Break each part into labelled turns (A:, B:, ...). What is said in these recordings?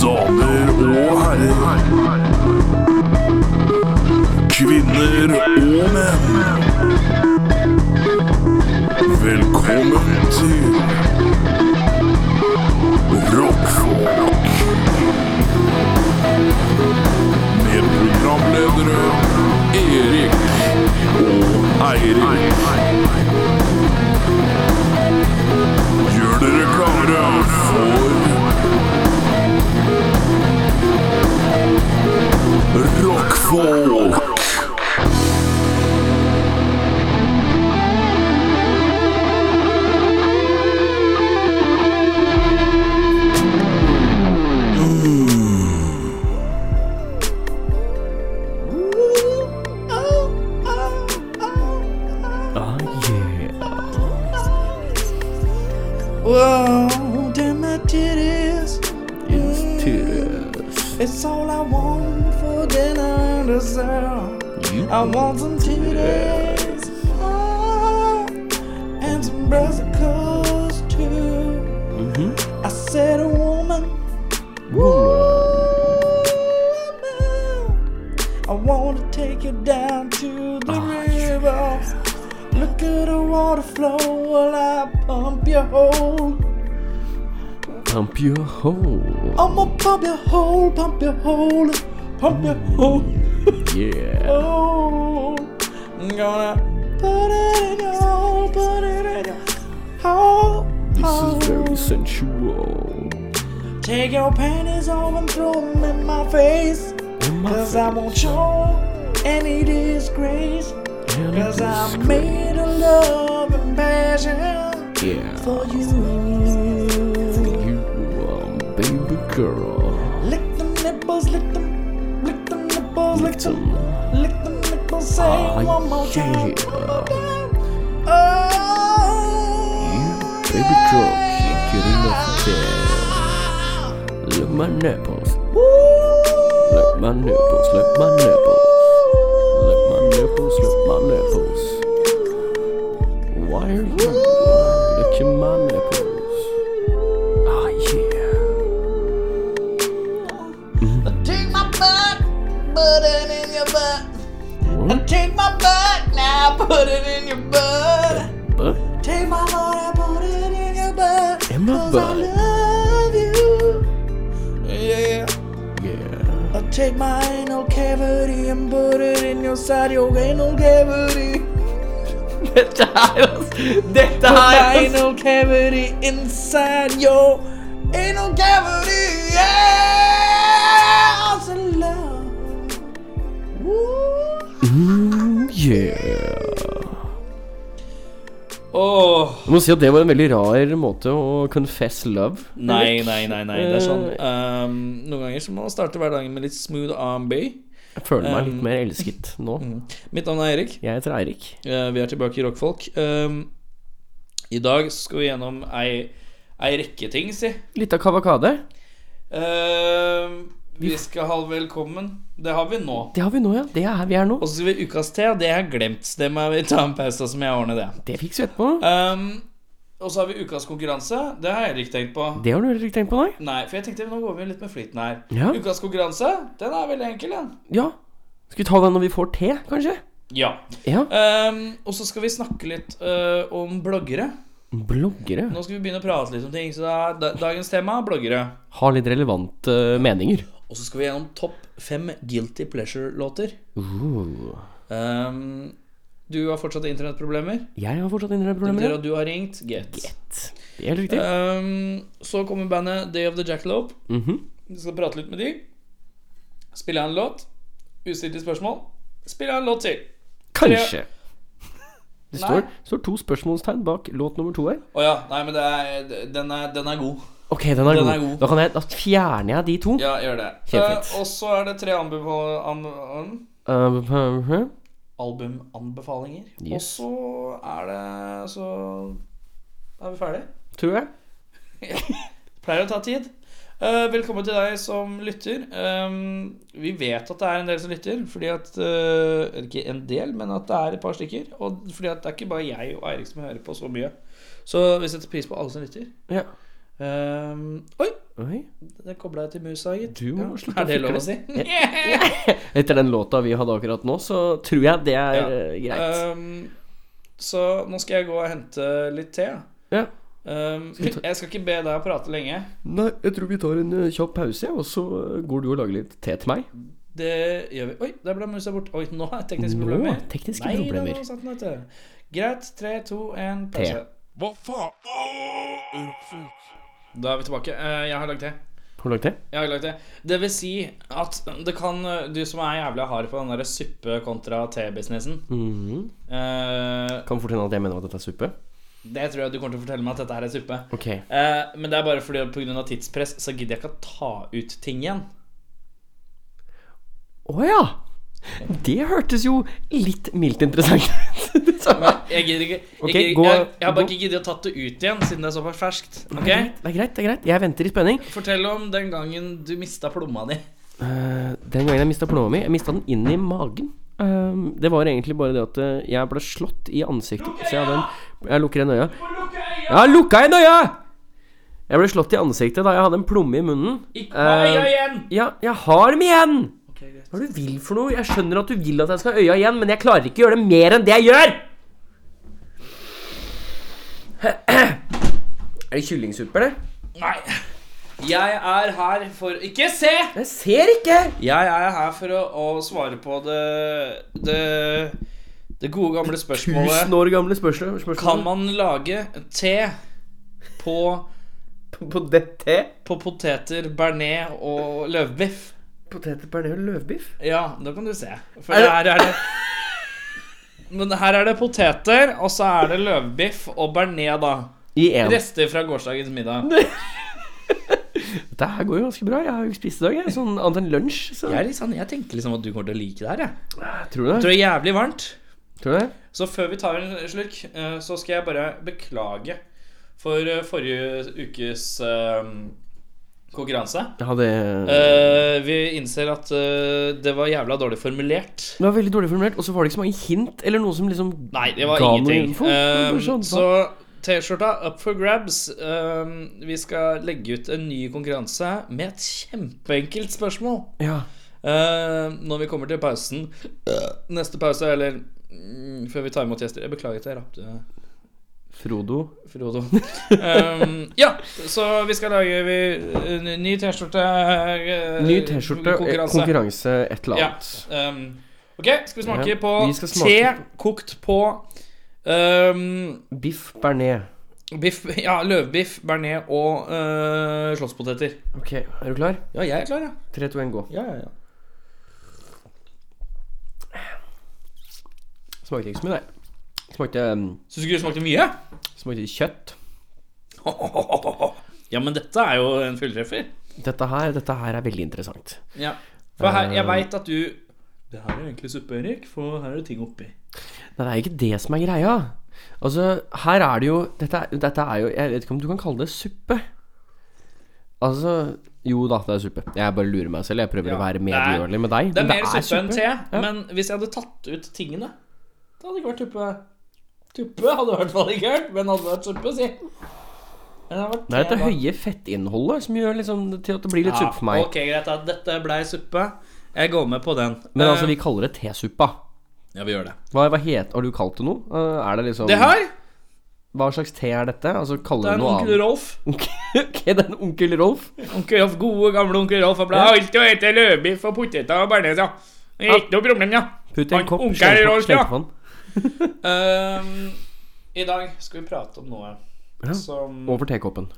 A: Damer og herrer. Kvinner og menn. Velkommen til Rockfolk. Med programledere Erik og Eirik. Gjør dere klare for Rockfolk.
B: Ah, yeah.
C: Whoa, damn my titties. Mm,
B: Titties.
C: It's all I want for dinner dessert. I want some titties. Ah, and some brassicas too.
B: Mhm.
C: I said a woman. Woman. I want to take you down to the river. Look at the water flow while I pump your hole.
B: Pump your hole.
C: I'ma pump your hole, pump your hole, pump your hole.
B: Yeah.
C: I'm gonna put it in your hole, put it in your hole.
B: This is very sensual.
C: Take your panties off and throw them in my face.
B: And my
C: Cause I won't show any disgrace.
B: hand
C: Cause
B: is
C: I'm
B: great.
C: made of love and passion
B: Yeah.
C: for you.
B: You um, baby girl.
C: Lick them nipples, lick them, lick them nipples, lick them.
B: Some
C: Lick the nipple, say
B: Ah,
C: one more time.
B: yeah.
C: One more time. Oh,
B: baby girl can't get enough of that. Look my nipples. Look my nipples. Look my nipples. Look my nipples. Look my nipples. Why are you licking my nipples? Ah yeah.
C: Take my butt, put it in your butt. Take my butt, now put it in your butt.
B: What?
C: Take my heart and put it in your butt.
B: In my
C: 'cause
B: butt.
C: I love you. Yeah.
B: Yeah.
C: I take my anal cavity and put it in your side, your anal cavity.
B: Dette her, ass. Dette
C: Anal cavity inside your anal cavity. Yeah, in love. Woo.
B: Mm, yeah.
D: Åh,
B: Jeg må si at det var en veldig rar måte å confess love.
D: nei,
B: Erik.
D: nei, nei, nei, det er sånn
B: Eh,
D: um, Noen ganger så må man starte hverdagen med litt smooth R&B
B: Jeg føler meg litt
D: um,
B: mer elsket nå.
D: Mitt navn er Erik,
B: Jeg heter Eirik.
D: Eh, vi er tilbake i Rockfolk um, I dag skal vi gjennom ei, ei rekke ting, si
B: Litt av kavakade.
D: um, Vi skal ha velkommen, det har vi nå
B: Det har vi nå, ja. Det er her vi er nå.
D: Og så skal vi ukas te, og det har jeg glemt så Det må vi ta en pause som jeg ordner det
B: Det fikser vi etterpå.
D: um, Og så har vi ukas konkurranse, det har jeg ikke tenkt på
B: Det har du heller ikke tenkt på, nei?
D: Nei, for jeg tenkte nå går vi litt med flyten her
B: Ja.
D: Ukas konkurranse, den er veldig enkel, den
B: ja. Skal vi ta den når vi får te, kanskje?
D: Ja.
B: Ja.
D: Ehm, og så skal vi snakke litt eh, om bloggere.
B: Bloggere
D: Nå skal vi begynne å prate litt om ting. Så da, da, dagens tema er bloggere.
B: har litt relevante meninger.
D: Og så skal vi gjennom topp fem guilty pleasure-låter.
B: Uh.
D: Ehm, du har fortsatt internettproblemer.
B: Jeg har fortsatt
D: Det betyr
B: internettproblemer.
D: at du har ringt. Get.
B: ja. Det er helt riktig.
D: Ehm, så kommer bandet Day of the Jackalope.
B: Mhm.
D: Vi skal prate litt med de. Spille en låt. Ustilte spørsmål. Spille en låt til.
B: Kanskje. Det
D: Nei.
B: står, står to spørsmålstegn bak låt nummer to her.
D: Å ja. Nei, men det er, den, er, den er god.
B: Ok, den er,
D: Den
B: god.
D: er god.
B: Da, kan jeg, da fjerner jeg de to.
D: Ja, gjør det.
B: Kjempefint.
D: Eh, og så er det tre anbefal an an
B: Uh, huh, huh.
D: albumanbefalinger. Og
B: Yes.
D: så er det Så er vi ferdige.
B: tror jeg.
D: Pleier å ta tid. Eh, velkommen til deg som lytter. Um, vi vet at det er en del som lytter. Fordi at eh, eller Ikke en del, men at det er et par stykker. Og fordi at det er ikke bare jeg og Eirik som hører på så mye. Så vi setter pris på alle som lytter.
B: Ja.
D: Um, oi,
B: Oi.
D: Det kobla jeg til musa, gitt.
B: Du må slutte
D: Er det lov å si?
B: Etter den låta vi hadde akkurat nå, så tror jeg det er
D: Ja.
B: eh, greit.
D: Um, så nå skal jeg gå og hente litt te.
B: ja.
D: Um,
B: vi ta-
D: jeg skal ikke be deg å prate lenge.
B: Nei, jeg tror vi tar en eh, kjapp pause, og så eh, går du og lager litt te til meg.
D: Det gjør vi. Oi, der ble musa bort. Oi, nå er det tekniske
B: Nå,
D: problemer.
B: tekniske
D: Nei, det
B: problemer.
D: var sant, nå, vet du. Greit. Tre, to, én, pause.
A: Hva faen? Åh, unnskyld.
D: Da er vi tilbake. Eh, Jeg har lagd te.
B: Har du lagd te?
D: Jeg har lagd te. Det vil si at det kan Du som er jævlig hard på den der suppe kontra te-businessen
B: Mhm.
D: eh,
B: Kan fort hende at jeg mener at dette er suppe.
D: Det tror jeg du kommer til å fortelle meg at dette her er suppe.
B: Ok.
D: Eh, Men det er bare fordi pga. tidspress så gidder jeg ikke å ta ut ting igjen.
B: Å ja! Det hørtes jo litt mildt interessant ut. det
D: Jeg gidder ikke
B: Ok,
D: jeg,
B: gå-
D: gidder, jeg, jeg har bare
B: gå-
D: ikke giddet å tatt det ut igjen, siden det er såpass ferskt. Ok?
B: er greit, det er greit. Jeg venter i spenning.
D: Fortell om den gangen du mista plomma di.
B: Eh, den gangen jeg mista plomma mi, jeg mista den inn i magen. Eh, det var egentlig bare det at eh, jeg ble slått i ansiktet. så jeg, hadde en, jeg lukker igjen øya. Jeg har lukka igjen øya! Jeg ble slått i ansiktet da jeg hadde en plomme i munnen.
D: Ikke meg
B: Eh,
D: igjen!
B: Ja, jeg har dem igjen!
D: Ok, greit.
B: Hva er det du vil for noe? Jeg skjønner at du vil at jeg skal ha øya igjen, men jeg klarer ikke å gjøre det mer enn det jeg gjør! Er det kyllingsuppe, eller?
D: Nei. Jeg er her for Ikke se!
B: Jeg ser ikke!
D: Jeg er her for å, å svare på det, det Det gode, gamle spørsmålet.
B: Tusen år gamle spørsmål. spørsmål.
D: Kan man lage te på,
B: På- På dette?
D: på poteter, bearnés og løvbiff?
B: Poteter, bearnés og løvbiff?
D: Ja, da kan du se. For
B: Er det-
D: her er det Men her er det poteter, og så er det løvbiff og bearnés, da.
B: I én.
D: Rester fra gårsdagens middag.
B: Dette her går jo ganske bra. Jeg har jo ikke spist i dag, jeg. Sånn annet enn lunsj. Så.
D: Jeg, er litt sånn, jeg tenker liksom at du kommer til å like det her, jeg.
B: Tror du
D: Jeg
B: det?
D: tror det er jævlig varmt.
B: Tror du det?
D: Så før vi tar en slurk, eh, så skal jeg bare beklage for eh, forrige ukes eh, konkurranse.
B: Jeg hadde
D: Eh, Vi innser at eh, det var jævla dårlig formulert.
B: Det var veldig dårlig formulert, og så var det ikke så mange hint eller noe som liksom
D: Nei, det var
B: ga noe
D: ingenting.
B: info. Det var
D: Ehm,
B: sånn,
D: så T-skjorta up for grabs. Ehm, vi skal legge ut en ny konkurranse med et kjempeenkelt spørsmål.
B: Ja.
D: Ehm, når vi kommer til pausen. eh, Neste pause, eller mm, før vi tar imot gjester. Jeg beklager at jeg rapte,
B: Frodo
D: Frodo. Ehm, ja, så vi skal lage vi, en ny T-skjorte eh,
B: Ny T-skjorte, eh, konkurranse.
D: konkurranse.
B: et eller annet.
D: Ehm, ok, skal vi smake
B: Ja,
D: på
B: vi skal smake
D: te kokt på ehm,
B: Biff bearnés.
D: Biff, ja, løvbiff, bearnés og øh, slåsspoteter.
B: Ok, er du klar?
D: Ja, jeg er klar, ja.
B: 3, 2, 1, gå.
D: ja, ja, ja.
B: Smakte ikke så mye, nei. Smakte, um,
D: Syns du ikke det smakte mye?
B: smakte kjøtt.
D: Ja, men dette er jo en fulltreffer.
B: Dette her, dette her er veldig interessant.
D: Ja. For her,
B: Eh.
D: jeg veit at du Det her er egentlig suppe, Erik, for her er det ting oppi.
B: Nei, det er ikke det som er greia. Altså, her er det jo Dette, er- dette er jo Jeg vet ikke om du kan kalle det suppe. Altså Jo da, det er suppe. Jeg bare lurer meg selv. Jeg prøver
D: Ja,
B: å være
D: det er-
B: medgjørlig med deg.
D: Det er
B: men
D: mer suppe enn te,
B: Ja.
D: men hvis jeg hadde tatt ut tingene Da hadde det ikke vært suppe. Tuppe hadde i hvert fall ikke vært, men hadde det vært suppe, si. Men det hadde vært
B: Det er
D: te,
B: dette
D: da.
B: høye fettinnholdet som gjør liksom det til at det blir litt
D: Ja,
B: suppe for meg.
D: Ok, greit. Da. Dette blei suppe. Jeg går med på den.
B: Men altså,
D: Eh,
B: vi Sånn- kaller det tesuppa.
D: Ja, vi gjør det.
B: Hva, hva het, har du kalt det noe? Eh, Er det liksom
D: Det her
B: Hva slags te er dette? Altså,
D: Det
B: kaller
D: er
B: du
D: en
B: noe
D: onkel
B: annet?
D: Rolf.
B: ok, det er en onkel Rolf.
D: Onkel Rolf, Gode, gamle onkel Rolf. Han ble
B: Ja.
D: alltid å hete løvbiff og poteter og bearnés, ja. Det er Ikke noe problem, ja.
B: Putt i en
D: Han
B: kopp,
D: onkel
B: sleng på-
D: Rolf,
B: sleng
D: ja.
B: på han.
D: Ehm, I dag skal vi prate om noe
B: Ja.
D: som
B: Over tekoppen.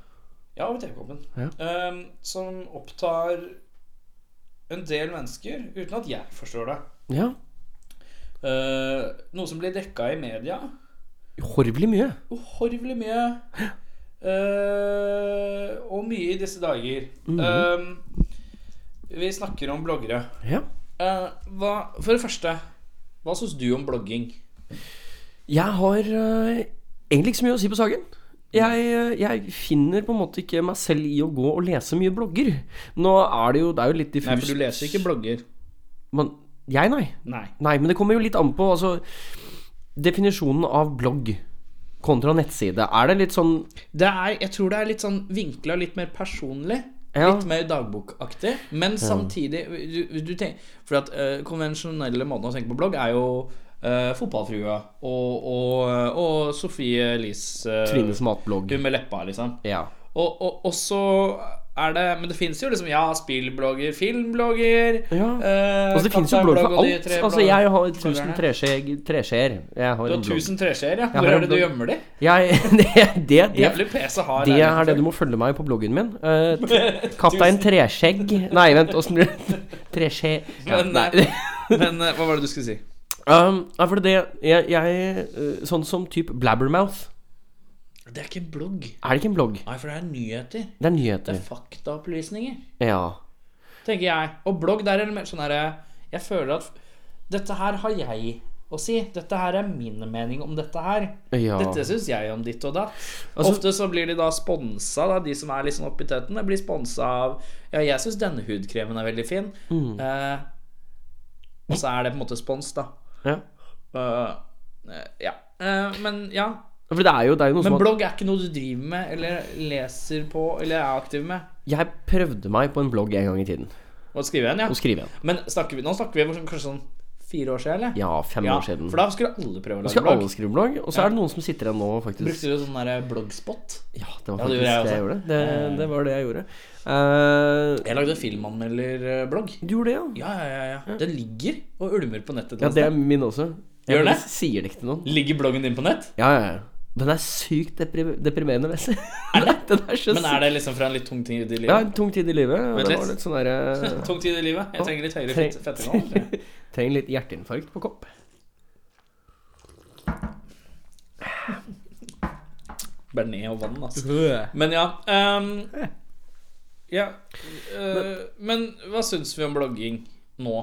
D: Ja, over TV-koppen.
B: Ja.
D: Ehm, som opptar en del mennesker, uten at jeg forstår det.
B: Ja.
D: Ehm, noe som blir dekka i media
B: Horvelig mye.
D: uhorvelig mye. eh, og mye i disse dager. Ehm, vi snakker om bloggere.
B: Ja.
D: Eh, hva, for det første, hva syns du om blogging?
B: Jeg har eh, egentlig ikke så mye å si på saken. Jeg, eh, jeg finner på en måte ikke meg selv i å gå og lese mye blogger. Nå er det jo, det er jo litt diffust.
D: Nei, for du leser ikke blogger.
B: Men, jeg, nei.
D: Nei.
B: Nei, men det kommer jo litt an på altså, Definisjonen av blogg kontra nettside. Er det litt sånn
D: Det er, jeg tror det er litt sånn vinkla litt mer personlig.
B: Ja.
D: Litt mer dagbokaktig, men samtidig du, du tenk, For at eh, konvensjonelle måten å tenke på blogg er jo eh, Fotballfrua og, og, og Sofie Elis eh,
B: Trines matblogg.
D: Hun med leppa, liksom.
B: Ja.
D: Og, og, og så er det Men det fins jo liksom Ja, spillblogger, filmblogger
B: Ja.
D: eh,
B: Altså, det fins jo blogg for
D: Kapteinblogg og de
B: alt.
D: tre
B: Altså, jeg har
D: bloggerne.
B: 1000 treskjeer. treskjeer. Jeg har
D: Du har
B: en blogg.
D: 1000 treskjeer, ja.
B: Jeg
D: Hvor
B: har
D: er
B: en
D: det du
B: blogg.
D: gjemmer de?
B: Jeg, det, det, det,
D: Jævlig PC har
B: det
D: jeg.
B: er det du må følge meg på bloggen min. Eh, t- Kaptein Treskjegg Nei, vent, åssen blir det? Treskje... Ja,
D: Men,
B: nei.
D: eh, men eh, hva var det du skulle si?
B: Um, nei, for det jeg, jeg eh, Sånn som type Blabbermouth.
D: Det er ikke en blogg.
B: Er det ikke en blogg?
D: Nei, for det er nyheter.
B: Det er
D: Det er
B: nyheter.
D: faktaopplysninger,
B: Ja.
D: tenker jeg. Og blogg, der er det mer sånn herre Jeg føler at dette her har jeg å si. Dette her er min mening om dette her.
B: ja.
D: Dette syns jeg om ditt og datt.
B: Altså-
D: Ofte så blir de da sponsa, da, de som er litt sånn oppi teten. De blir sponsa av Ja, jeg syns denne hudkremen er veldig fin.
B: Mm.
D: Eh, og så er det på en måte spons, da.
B: ja.
D: Eh, eh, ja. Eh, men ja.
B: For det er jo, det er jo noe
D: Men
B: som at
D: blogg er ikke noe du driver med, eller leser på, eller er aktiv med.
B: Jeg prøvde meg på en blogg en gang i tiden.
D: Å skrive en, ja.
B: Å skrive en.
D: Men snakker vi, nå snakker vi om sånn- kanskje sånn fire år siden, eller?
B: Ja, fem år siden.
D: For da skulle alle prøve å
B: Da
D: lage
B: skal
D: blogg.
B: alle skrive blogg, og så er det noen som sitter igjen nå, faktisk.
D: Brukte du sånn der bloggspot?
B: Ja, det var
D: Ja, det
B: faktisk
D: gjorde jeg
B: det jeg
D: også.
B: gjorde. Det, det var det jeg gjorde. Eh,
D: Jeg lagde filmanmelderblogg.
B: du gjorde det, ja?
D: Ja, ja, ja, ja. Den ligger og ulmer på nettet. et
B: Ja,
D: eller
B: det er
D: annet
B: min også. Jeg
D: Gjør det?
B: bare Sier det ikke til noen.
D: sted. Ligger bloggen din på nett?
B: Ja, ja, ja. Den er sykt depri deprimerende å lese. Er det? Den er så
D: Men er det liksom fra en litt tung tid i
B: Ja,
D: livet?
B: en tung tid i livet. Og det
D: Vent litt.
B: var litt sånn derre
D: Tung tid i livet? Jeg trenger litt høyere
B: Treng-
D: fett- fettinnhold.
B: Trenger litt hjerteinfarkt på kopp.
D: Bearnés og vann, altså.
B: Jeg
D: Men ja. ehm, ja eh, men hva syns vi om blogging nå?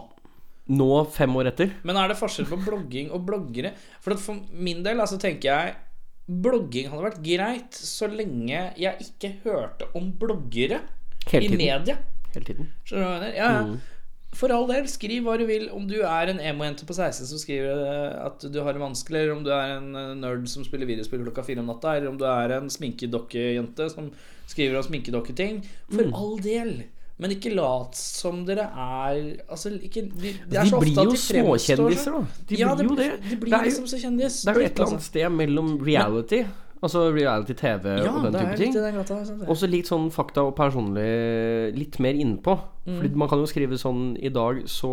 B: Nå, fem år etter
D: Men er det forskjell på blogging og bloggere? For, at for min del altså, tenker jeg blogging hadde vært greit så lenge jeg ikke hørte om bloggere
B: Hele
D: i
B: tiden.
D: media.
B: hele tiden.
D: Skjønner du hva jeg mener? Ja, ja.
B: Mm.
D: For all del, skriv hva du vil. Om du er en emo-jente på 16 som skriver eh, at du har det vanskelig, eller om du er en eh, nerd som spiller videospill klokka fire om natta, eller om du er en sminkedokkejente som skriver om sminkedokketing. For
B: Mm.
D: all del. Men ikke lat som dere er Altså, ikke de, det er
B: De
D: så ofte
B: blir
D: at
B: jo
D: fremstår
B: småkjendis, da.
D: sånn.
B: De
D: ja,
B: blir jo det.
D: De blir
B: Det er jo-
D: liksom så kjendis. altså.
B: Det er jo et eller annet sted mellom reality, altså reality-TV
D: ja,
B: og den
D: det
B: type
D: er litt
B: ting,
D: i den gata. Liksom.
B: og så litt sånn fakta og personlig litt mer innpå.
D: Mm.
B: Fordi man kan jo skrive sånn I dag så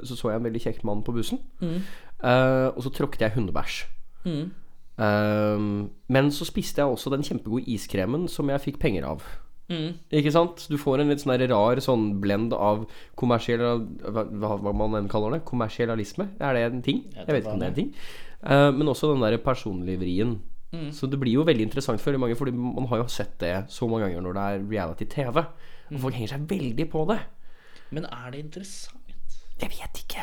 B: så, så jeg en veldig kjekk mann på bussen, eh, og så tråkket jeg hundebæsj.
D: Mm.
B: Eh, men så spiste jeg også den kjempegode iskremen som jeg fikk penger av.
D: Mm.
B: Ikke sant? Du får en litt sånn der rar sånn blend av kommersiell hva, hva hva man enn kaller det. Kommersialisme. Er det en ting? Jeg
D: tar
B: vet ikke om det
D: faen,
B: er en ting. Eh, men også den der personlige vrien. Så det blir jo veldig interessant for veldig mange, Fordi man har jo sett det så mange ganger når det er reality-TV. Og folk henger seg veldig på det.
D: Men er det interessant?
B: Jeg vet ikke.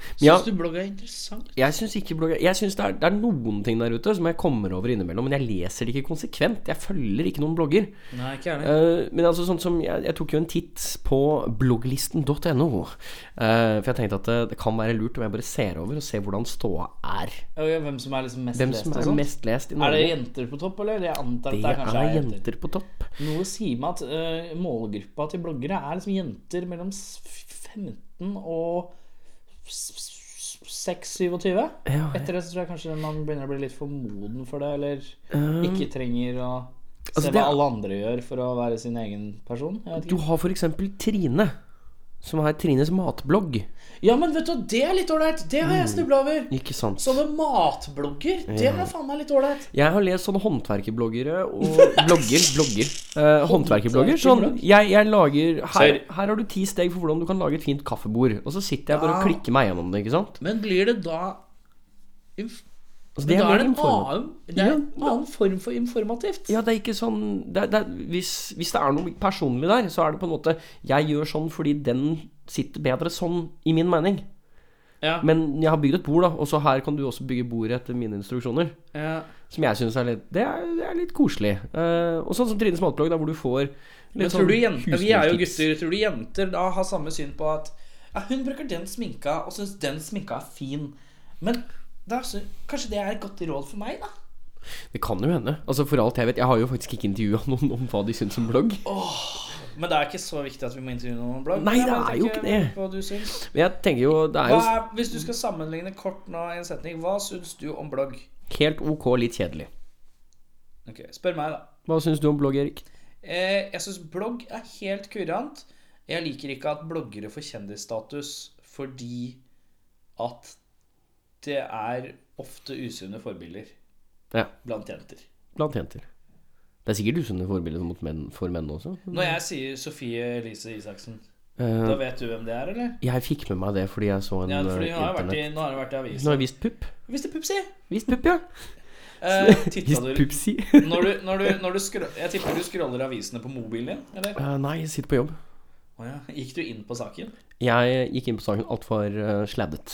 B: Men
D: Syns
B: ja,
D: du blogg er interessant?
B: jeg syns ikke blogger Jeg synes det, er, det er noen ting der ute som jeg kommer over innimellom, men jeg leser det ikke konsekvent. Jeg følger ikke noen blogger.
D: Nei, ikke jeg.
B: Eh, men altså sånn som jeg, jeg tok jo en titt på blogglisten.no. eh, for jeg tenkte at det, det kan være lurt om jeg bare ser over og ser hvordan ståa er.
D: Ja, ja, Hvem som er liksom mest
B: Hvem
D: lest
B: som
D: og
B: er
D: sånt?
B: mest lest i
D: Er det
B: Norge.
D: jenter på topp, eller? Jeg antar at
B: Det
D: det, er kanskje
B: er
D: er jenter.
B: jenter på topp.
D: Noe sier meg at eh, målgruppa til bloggere er liksom jenter mellom s- 15 og s- s- 26-27.
B: Ja,
D: Etter det så tror jeg kanskje man begynner å bli litt for moden for det, eller ikke trenger å se
B: altså, det
D: hva
B: er-
D: alle andre gjør for å være sin egen person. Jeg vet
B: Du
D: ikke.
B: har for eksempel Trine, som har Trines matblogg.
D: Ja, men vet du, hva, det er litt ålreit! Det har
B: Mm.
D: jeg snubla over!
B: Ikke sant?
D: Sånne matblogger, det er faen meg litt ålreit.
B: Jeg har lest sånne håndverkerbloggere og blogger. blogger eh, håndverkerblogger. Sånn, jeg, jeg lager her,
D: Ser-
B: her har du ti steg for hvordan du kan lage et fint kaffebord. Og så sitter jeg bare og
D: Ja.
B: klikker meg gjennom det. ikke sant?
D: Men blir det da inf-
B: Altså,
D: Men da
B: mer
D: er det en
B: informativt.
D: annen, det er
B: Ja.
D: en annen form for informativt.
B: Ja, det er ikke sånn det er, det er, hvis, hvis det er noe personlig der, så er det på en måte Jeg gjør sånn fordi den sitter bedre sånn, i min mening.
D: Ja.
B: Men jeg har bygd et bord, da, og så her kan du også bygge bordet etter mine instruksjoner.
D: Ja.
B: Som jeg syns er litt Det er, det er litt koselig. Eh, og sånn som Trines matblogg, da, hvor du får litt
D: Men tror du
B: sånn
D: jenter, Vi er jo
B: husmortips.
D: gutter. Tror du jenter da har samme syn på at ja, hun bruker den sminka og syns den sminka er fin? Men da, sy- kanskje det er et godt råd for meg, da?
B: Det kan jo hende. Altså For alt jeg vet, jeg har jo faktisk ikke intervjua noen om hva de syns om blogg.
D: Men det er ikke så viktig at vi må intervjue noen blogg.
B: Nei,
D: Jeg
B: det
D: vet
B: er jo ikke det.
D: Hva du syns.
B: Men jeg tenker jo Det er
D: Hva
B: jo
D: er, hvis du skal sammenligne kort nå i en setning, hva syns du om blogg?
B: helt ok litt kjedelig.
D: Ok, Spør meg, da.
B: Hva syns du om blogg, Erik?
D: Eh, jeg syns blogg er helt kurant. Jeg liker ikke at bloggere får kjendisstatus fordi at det er ofte usunne forbilder
B: Ja,
D: blant jenter.
B: blant jenter. Det er sikkert usunne forbilder mot menn, for menn også.
D: Når jeg sier Sofie Elise Isaksen,
B: Eh,
D: da vet du hvem det er, eller?
B: jeg fikk med meg det fordi jeg så en eh,
D: Ja, for hun har jo vært i,
B: internett...
D: nå har hun vært i
B: Nå har
D: avisen.
B: jeg vist pupp.
D: Hvis det er Pupsi!
B: Vist pupp, ja.
D: Eh, titta
B: Vist
D: du
B: pupsi.
D: Når du, når du, når du scro- jeg tipper du scroller avisene på mobilen din, eller?
B: Eh, nei, jeg sitter på jobb.
D: Å ja. Gikk du inn på saken?
B: Jeg gikk inn på saken altfor uh, sladdet.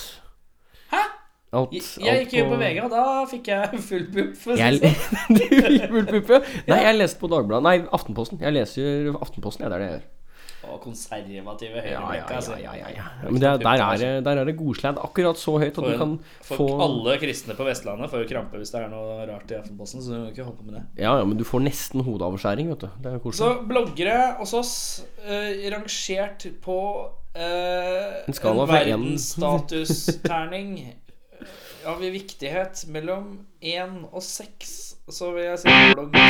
D: Hæ?
B: Alt,
D: Jeg, jeg gikk inn på VG, og da fikk jeg full pupp. for å si
B: Jeg,
D: det sånn.
B: du fikk full pupp, ja. Nei, jeg leste på Dagbladet. Nei, Aftenposten. Jeg leser Aftenposten, ja, det er det jeg gjør.
D: Å,
B: Ja,
D: konservative
B: ja,
D: høyreblekka.
B: ja,
D: altså.
B: ja, ja, ja. Men det, er- der er det, der er det godsladd akkurat så høyt at
D: For,
B: du kan
D: en- for
B: få
D: alle kristne på Vestlandet får jo krampe hvis det er noe rart i Aftenposten, så du må ikke holde på med det.
B: Ja, ja, men du får nesten hodeavskjæring, vet du. Det er koselig.
D: Så bloggere hos oss eh, rangert på eh,
B: En skala
D: en
B: fra en-
D: verdensstatusterning eh, av viktighet mellom én og seks, så vil jeg si blogg.
B: Jeg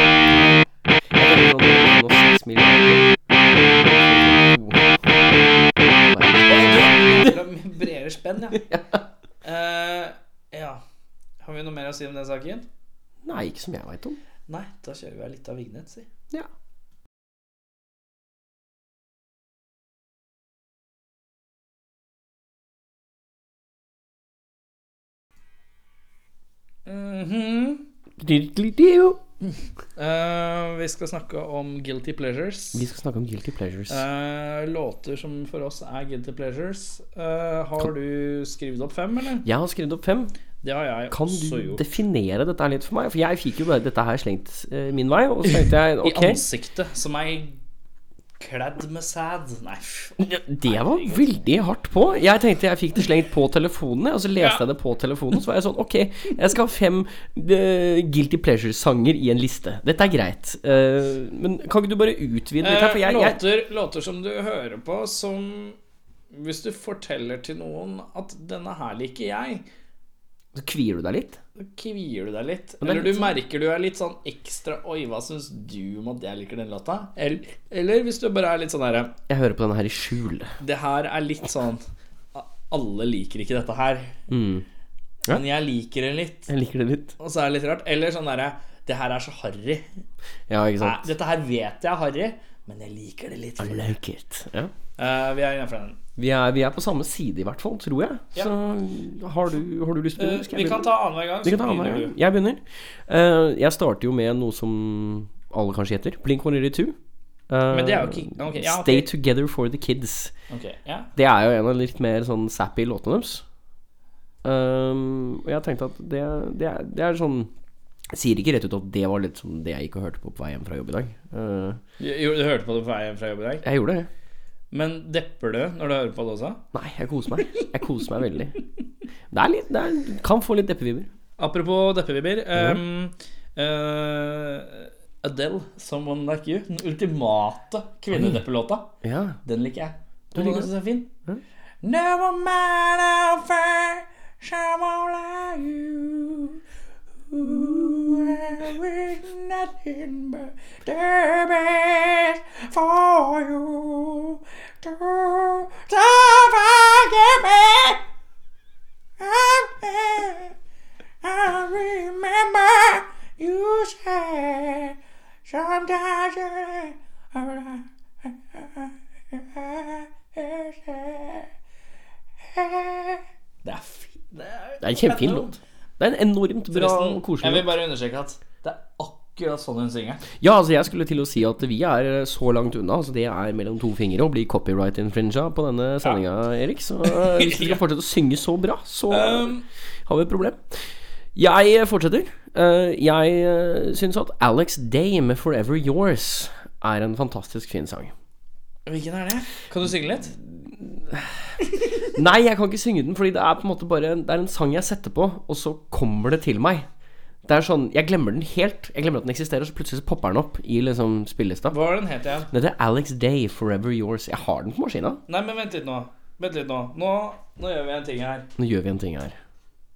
B: tenker sånn, det er nå seks milliarder.
D: Fra mye bredere spenn, ja. Eh, ja. Har vi noe mer å si om den saken?
B: Nei, ikke som jeg veit om.
D: Nei, da kjører vi av litt av Vignet, si.
B: Ja.
D: Mhm.
B: Vi
D: Eh, vi skal snakke om guilty pleasures.
B: skal snakke om guilty pleasures.
D: Eh, låter som for oss er guilty pleasures. Eh, har du skrevet opp fem, eller?
B: Jeg har skrevet opp fem.
D: Det har jeg
B: Kan
D: også
B: du
D: gjort.
B: definere dette her litt for meg? For jeg fikk jo bare dette her slengt eh, min vei, og så tenkte jeg ok.
D: I ansiktet, som ei kledd med sæd. Nei, f-
B: Det var veldig hardt på. Jeg tenkte jeg fikk det slengt på telefonen, og så leste
D: Ja.
B: jeg det på telefonen. Så var jeg sånn Ok, jeg skal ha fem eh, Guilty Pleasure-sanger i en liste. Dette er greit. Eh, men kan ikke du bare utvide litt her? For jeg,
D: Eh,
B: jeg
D: låter, låter som du hører på, som Hvis du forteller til noen at 'denne her liker jeg',
B: Så kvier du deg litt?
D: så kvier du deg litt.
B: det er
D: Eller
B: litt
D: du merker du er litt sånn ekstra 'oi, hva syns du om at jeg liker den låta'? Eller, eller hvis du bare er litt sånn herre
B: Jeg hører på denne her i skjul.
D: Det her er litt sånn Alle liker ikke dette her,
B: Mm.
D: men jeg liker det litt.
B: Jeg liker det litt.
D: Og så er det litt rart. Eller sånn derre Det her er så harry.
B: Ja, ikke
D: Nei,
B: sant?
D: Dette her vet jeg er harry, men jeg liker det litt.
B: I like it. Ja.
D: Eh, vi er innenfor den.
B: Vi, er, vi er på samme side, i hvert fall, tror jeg.
D: Ja.
B: Så har du, har du lyst til å
D: Eh,
B: begynne? Skal jeg
D: vi kan
B: begynne?
D: ta annenhver gang,
B: Vi
D: så
B: kan ta annenhver
D: begynner
B: gang.
D: du.
B: Jeg begynner. Eh, jeg starter jo med noe som alle kanskje heter. Blink 182. Eh,
D: Men det er jo ikke ok, ja, ok.
B: Stay Together for the Kids.
D: Ok, ja.
B: Det er jo en av de litt mer sånn sappy låtene deres. Um, og jeg tenkte at det, det, er, det er sånn jeg Sier ikke rett ut at det var litt sånn det jeg gikk og hørte på på vei hjem fra jobb i dag. Eh,
D: Jo, Du hørte på det på vei hjem fra jobb i dag.
B: jeg gjorde det.
D: Men depper du når du hører på det også?
B: Nei, jeg koser meg. Jeg koser meg veldig. Det er litt Det er, kan få litt deppevibber.
D: Apropos deppevibber. ehm, eh, Adele, 'Someone Like You', den ultimate kvinnedeppelåta.
B: Ja.
D: Den liker jeg.
B: Du liker
D: den synes jeg er fin.
B: Mhm.
D: Never mind how far someone like you Ooh, I wish nothing but the best for you to to forgive me. I- I remember you said sometimes you det er fint. Det er,
B: Det er en kjempefin låt. Det er en enormt bra og
D: Jeg
B: koselig
D: vil
B: låt.
D: bare understreke at det er akkurat sånn hun synger.
B: Ja, altså jeg skulle til å si at vi er så langt unna. Altså Det er mellom to fingre å bli copyright infringa på denne sendinga, Erik. Så eh, hvis du skal fortsette å synge så bra, så
D: Um.
B: har vi et problem. Jeg fortsetter. Eh, Jeg syns at Alex Day med 'Forever Yours' er en fantastisk fin sang.
D: Hvilken er det? Kan du synge litt?
B: Nei, jeg kan ikke synge den, fordi det er på en måte bare Det er en sang jeg setter på, og så kommer det til meg. Det er sånn, Jeg glemmer den helt. Jeg glemmer at den eksisterer, så plutselig så popper den opp i liksom spillelista.
D: Hva var den het igjen?
B: Den heter Alex Day, Forever Yours. Jeg har den på maskina.
D: Nei, men vent litt nå. Vent litt nå. Nå, nå gjør vi en ting her.
B: Nå gjør vi en ting her.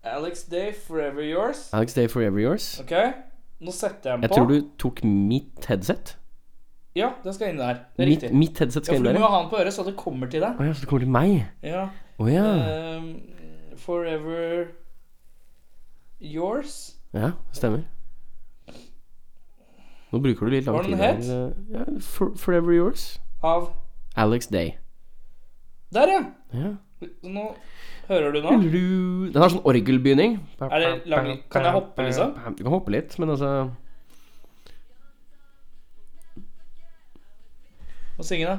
D: Alex Day, Forever Yours.
B: Alex Day, Forever Yours.
D: Ok, nå setter jeg den
B: Jeg
D: på.
B: tror du tok mitt headset.
D: Ja, den skal inn der. Det er
B: Mitt,
D: riktig.
B: mitt headset
D: Ja,
B: skal
D: for
B: inn
D: du må
B: der.
D: jo ha den på øret, så det kommer til deg.
B: Å ja, så det kommer til meg.
D: Ja.
B: Å ja.
D: Ehm, forever Yours.
B: Ja, det stemmer. Nå bruker du litt lang
D: Hva
B: tid
D: den
B: her.
D: het?
B: Ja, for, forever Yours.
D: Av
B: Alex Day.
D: Der, ja!
B: Ja.
D: Nå hører du nå.
B: Ru- Den har sånn orgelbegynning.
D: Er det lang, kan jeg hoppe, liksom?
B: Du kan hoppe litt, men altså
D: Og synge, da?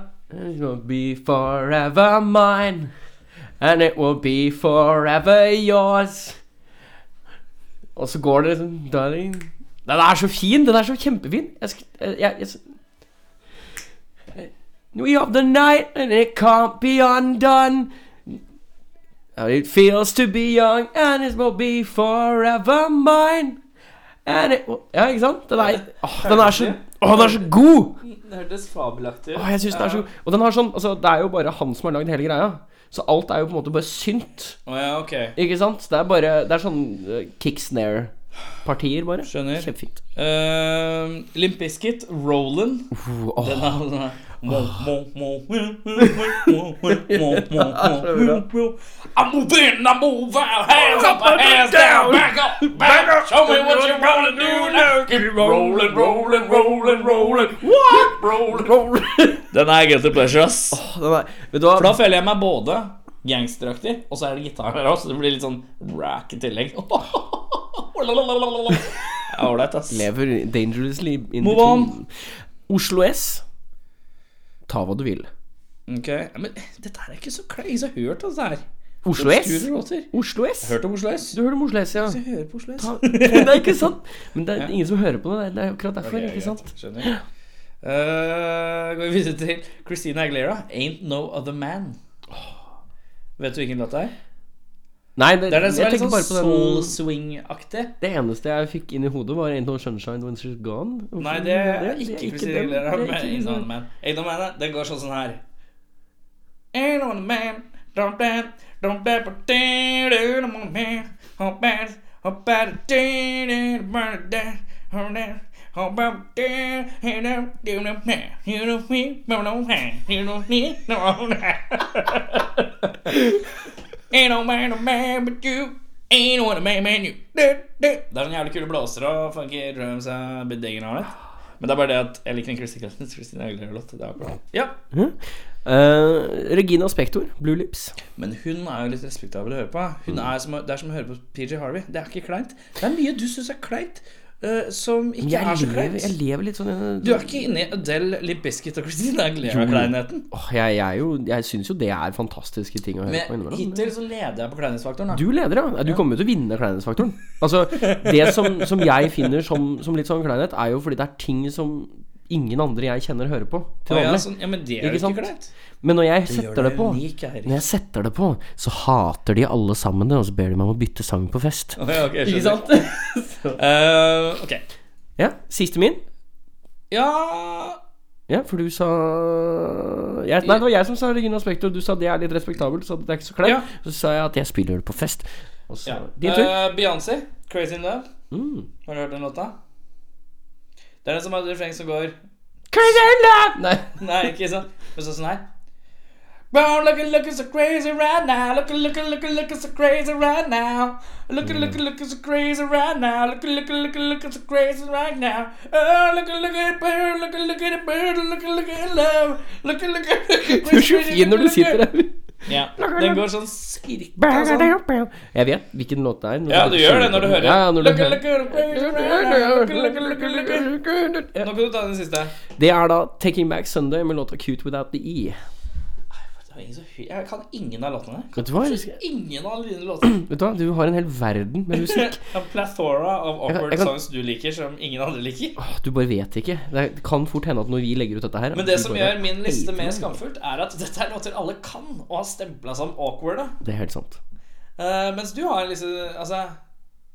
B: It will be forever mine, and it will be forever yours. Og så går det liksom Darling Den er så fin! Den er så kjempefin! Jeg sk... Jeg, jeg, jeg We of the night, and it can't be undone. And it feels to be young, and it will be forever mine. And it will... Ja, ikke sant? Den er, åh, den er så Åh, den er så god!
D: Det hørtes fabelaktig ut.
B: Åh, jeg synes den er så god. Og den har sånn, altså, det er jo bare han som har lagd hele greia. Så alt er jo på en måte bare synt.
D: Å ja, ok.
B: Ikke sant? Det er bare Det er sånn uh, kicksnare-partier, bare.
D: Skjønner.
B: Kjempefint.
D: Uh, Limp Bizkit, Roland.
B: Uh, åh,
D: Den er sånn her. Mo, mo, mo, mo, mo, mo, mo, mo, mo, mo. I'm moving, I'm moving. Hands up, hands down. Back up, back up. Show me what you're rolling, do now. Keep rolling, rolling, rolling, rolling. What? Rolling, rolling. Den er guilty pleasure, ass.
B: den er, vet du hva?
D: For da føler jeg meg både gangsteraktig, og så er det gitar her òg, så det blir litt sånn rack i tillegg. Ja, Ålreit, ass.
B: Lever dangerously in
D: Move
B: between. Oslo S. Ta hva du vil.
D: Ok, ja, Men dette her er ikke så kleint. Ingen som har hørt altså, det her.
B: Oslo S?
D: Obskure låter.
B: Oslo S?
D: Hørt om Oslo S?
B: Du hører om Oslo S, ja.
D: Jeg hører på Oslo S.
B: Ta- Det er ikke sant! Men det er ingen som hører på det. Det er akkurat derfor.
D: Ok,
B: ikke
D: greit.
B: sant?
D: Skjønner. Eh, går vi videre til Christina Aguilera, 'Ain't No Other Man'. Vet du hvilken låt det er?
B: Nei, det,
D: Det er den som
B: jeg
D: er litt
B: tenker
D: sånn
B: bare på den
D: soul swing-aktig.
B: Det eneste jeg fikk inn i hodet, var Ain't No Sunshine When She's Gone. Hvorfor-
D: Nei, det er
B: det
D: ikke
B: den.
D: Christina Aguilera,
B: Det er
D: men
B: ikke
D: Ain't No Other
B: den.
D: Man. Ain't No Man, da, den går sånn sånn her. Ain't no other man, don't dance, don't dance, but dance, ain't no other man, don't dance, don't dance, dance, ain't no other dance, don't dance, don't dance, dance, ain't no other man, you don't need no other man, you don't need no other man. Ain't no man, no man but you. Ain't no other man, man you. Du, du. Det er sånn jævlig kule blåser og funky drums og beddingen og alt. Men det er bare det at jeg liker en Christina Christina Aguilera-låt. Det er bra. Ja,
B: Eh, Regina Spektor, Blue Lips.
D: Men hun er jo litt respektabel å høre på. Hun
B: Mm.
D: er som, det er som å høre på PJ Harvey. Det er ikke kleint. Det er mye du syns er kleint, eh, som ikke
B: Jeg,
D: er så
B: lever, jeg
D: kleint.
B: lever litt sånn eh,
D: Du er ikke inne i Adele, Limp Bizkit og Christina Aguilera-kleinheten.
B: Åh, jeg, jeg, er jo- jeg syns jo det er fantastiske ting å høre på
D: Men
B: innimellom.
D: hittil så leder jeg på kleinhetsfaktoren. da.
B: Du leder, ja. Du kommer jo til å vinne kleinhetsfaktoren. Altså, det som, som jeg finner som, som litt sånn kleinhet, er jo fordi det er ting som ingen andre jeg kjenner, hører på til
D: Å ja,
B: vanlig.
D: sånn, ja, men det er
B: Ikke
D: jo ikke
B: sant?
D: kleint.
B: Men når jeg
D: gjør
B: setter
D: deg
B: det på
D: unik, Eirik.
B: Når jeg setter det på, så hater de alle sammen det, og så ber de meg om å bytte sang på fest.
D: Å ja, ok, jeg
B: Ikke
D: skjønner.
B: sant?
D: Eh, ok.
B: Ja, siste min.
D: Ja
B: Ja, for du sa jeg, Nei, det var jeg som sa Regina Spektor. Du sa det er litt respektabelt, så det er ikke så kleint.
D: Ja.
B: Så sa jeg at jeg spiller det på fest. Og så
D: Ja.
B: Din tur.
D: Eh, Beyoncé, 'Crazy in Love'.
B: Mm.
D: Har du hørt den låta? Det er den som har et refreng som går
B: Crazy in love! Nei.
D: Nei, ikke sant? Men så sånn her. Bro, looking, looking so crazy right now. Looking, looking, looking, looking so crazy right now. Looking, looking, looking so crazy right now. Looking, looking, looking, looking so crazy right now. Oh, looking, looking at bird, looking, looking at bird, looking, looking at love. Looking, looking, looking
B: Du er så fin når du sitter der.
D: Ja, den går sånn cirka sånn.
B: Jeg vet hvilken låt det er. men
D: Ja,
B: jeg kan ikke
D: du
B: synge
D: gjør det når du
B: på den.
D: hører.
B: Ja, ja, når du
D: Look,
B: hører.
D: look, look, look, look, look, look, look, look. Nå kan du ta den siste.
B: Det er da Taking Back Sunday med låta Cute Without The E.
D: Det er ingen så hy- Jeg kan ingen av låtene der.
B: Vet du hva? Jeg skal-
D: Ingen av dine låtene.
B: Vet du hva? Du har en hel verden med musikk.
D: A plethora av awkward
B: jeg kan-
D: songs du liker, som ingen andre liker.
B: Åh, Du bare vet ikke. Det er- det kan fort hende at når vi legger ut dette her
D: Men
B: at
D: det
B: du
D: som
B: bare-
D: gjør min liste mer skamfullt, er at dette er låter alle kan, og har stempla som awkwarde.
B: Det er helt sant.
D: Eh, mens du har en liste Altså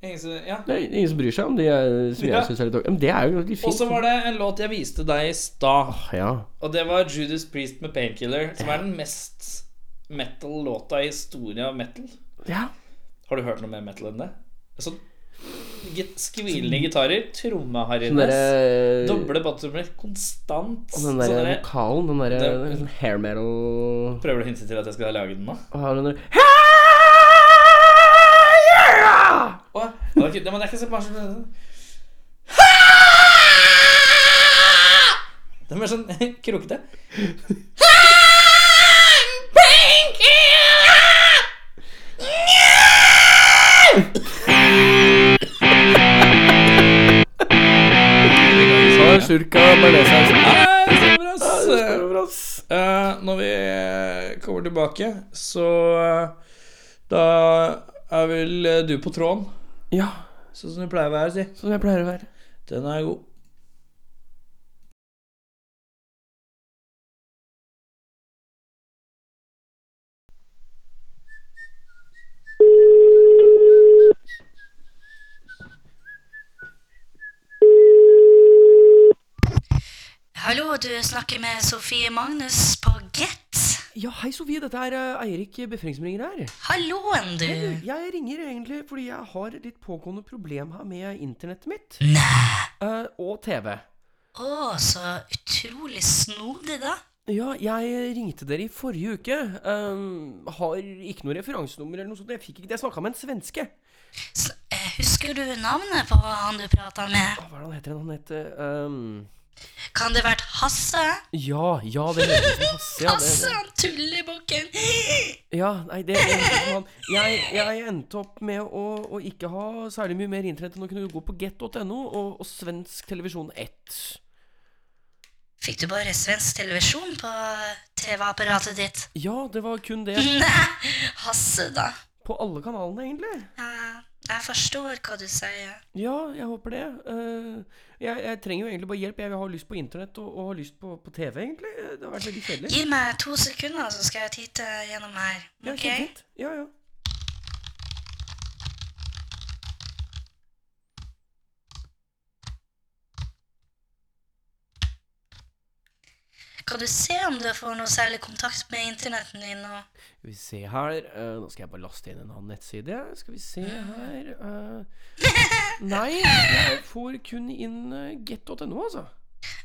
D: Ingen som- Ja.
B: Det er ingen som bryr seg om de jeg- som
D: Ja.
B: jeg syns er litt ok. Men det er jo veldig
D: Og
B: fint.
D: så var det en låt jeg viste deg i stad.
B: Ja.
D: Og det var Judas Priest med 'Painkiller', som er den mest metal-låta i historien av metal.
B: ja.
D: Har du hørt noe mer metal enn det? Sånn git- skvilende gitarer,
B: Den
D: trommeharrines,
B: Sånn- derre
D: doble batterommer, konstant.
B: Og den
D: sånn
B: derre
D: derre-
B: vokalen, den derre
D: Det-
B: sånn hair metal
D: Prøver du å hinse til at jeg skal lage den nå?
B: Og her den derre Yeah!
D: Å, det er ikke, det, men det er ikke så bare sånn Det er mer sånn krokete.
B: Så er Surka bearnéssaus.
D: Nei, så bra, ass.
B: Ja,
D: Eh, når vi eh, kommer tilbake, så eh, Da er vel eh, du på tråden,
B: ja,
D: sånn som du pleier å være, si.
B: som jeg pleier å være.
D: Den er god.
E: Hallo, du snakker med Sofie Magnus på Get.
B: Ja, hei Sofie, dette er eh, Eirik Befring som ringer her.
E: Halloen, du.
B: Jeg ringer egentlig fordi jeg har et litt pågående problem her med internettet mitt. Eh, og TV.
E: Å, så utrolig snodig, da.
B: Ja, jeg ringte dere i forrige uke. Um, har ikke noe referansenummer eller noe sånt. Jeg fikk ikke det. Jeg snakka med en svenske.
E: S eh, husker du navnet på han du prata med?
B: Å, Hva er det han heter? Han heter um,
E: Kan det vært Hasse?
B: Ja, ja, det høres ut som Hasse. Ja, det,
E: Hasse, han tullebukken.
B: Ja, nei, det det høres ut som han. Jeg, jeg endte opp med å, å ikke ha særlig mye mer internett enn å kunne gå på get.no og, og svensk televisjon 1.
E: Fikk du bare svensk televisjon på TV-apparatet ditt?
B: Ja, det var kun det.
E: Nei, Hasse, da.
B: På alle kanalene, egentlig.
E: Ja, jeg forstår hva du sier.
B: Ja, jeg håper det. Eh, jeg, jeg trenger jo egentlig bare hjelp. Jeg har lyst på internett og, og har lyst på, på TV, egentlig. Det har vært veldig kjedelig.
E: Gi meg to sekunder, så skal jeg titte gjennom her.
B: Ja,
E: Ok?
B: kjempefint. Ja, ja.
E: Kan du se om du får noe særlig kontakt med internetten din nå?
B: Skal vi se her eh, Nå skal jeg bare laste inn en annen nettside. Skal vi se her eh, Nei, jeg får kun inn eh, get.no, altså.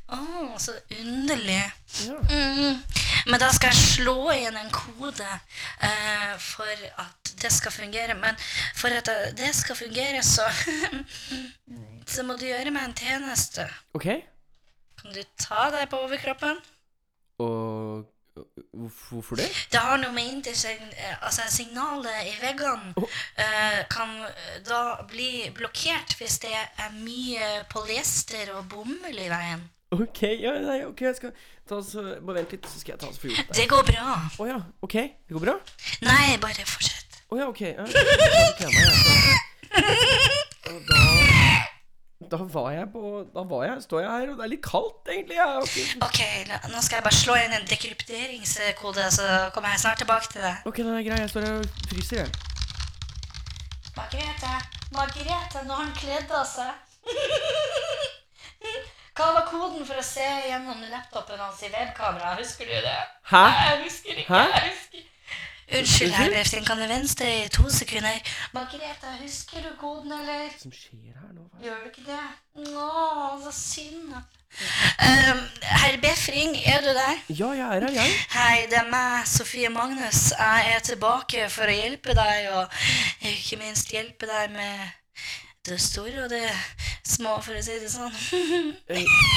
E: Å, så underlig.
B: Ja.
E: Mm. Men da skal jeg slå inn en kode eh, for at det skal fungere. Men for at det skal fungere, så Så må du gjøre meg en tjeneste.
B: Ok.
E: Kan du ta deg på overkroppen?
B: Og eh, hvorf- hvorfor det?
E: Det har noe med intersegn... eh, Altså, signalet i veggene eh, kan da bli blokkert hvis det er mye polyester og bomull i veien.
B: Ok, ja, nei, ok, jeg skal ta så, Bare vent litt, så skal jeg ta så for gjort det.
E: Det går bra.
B: Å ja, ok. Det går bra? Å
E: Nei, bare fortsett.
B: ja, ok. Ja, jeg skal bare kle meg, jeg, så. Og da da var jeg på Da var jeg, står jeg her, og det er litt kaldt, egentlig. Jeg, har ikke-
E: Ok, nå- nå skal jeg bare slå inn en dekrypteringskode, så kommer jeg snart tilbake til deg.
B: Ok, den er grei. Jeg står her og fryser, jeg.
E: Margrethe, Margrethe, nå har han kledd av seg. Hva var koden for å se gjennom laptopen hans i webkamera? Husker du det?
B: Hæ?
E: Nei, Jeg husker ikke.
B: Hæ?
E: Jeg husker. Unnskyld, herr Befring, kan du venstre i to sekunder? Margrethe, husker du koden, eller?
B: Hva som skjer her nå? Hva er det?
E: Gjør du ikke det? Nå, så synd. Um, herr Befring, er du der?
B: Ja, jeg er her, jeg.
E: Hei, det er meg, Sofie Magnus. Jeg er tilbake for å hjelpe deg, og ikke minst hjelpe deg med det store og det små, for å si det sånn.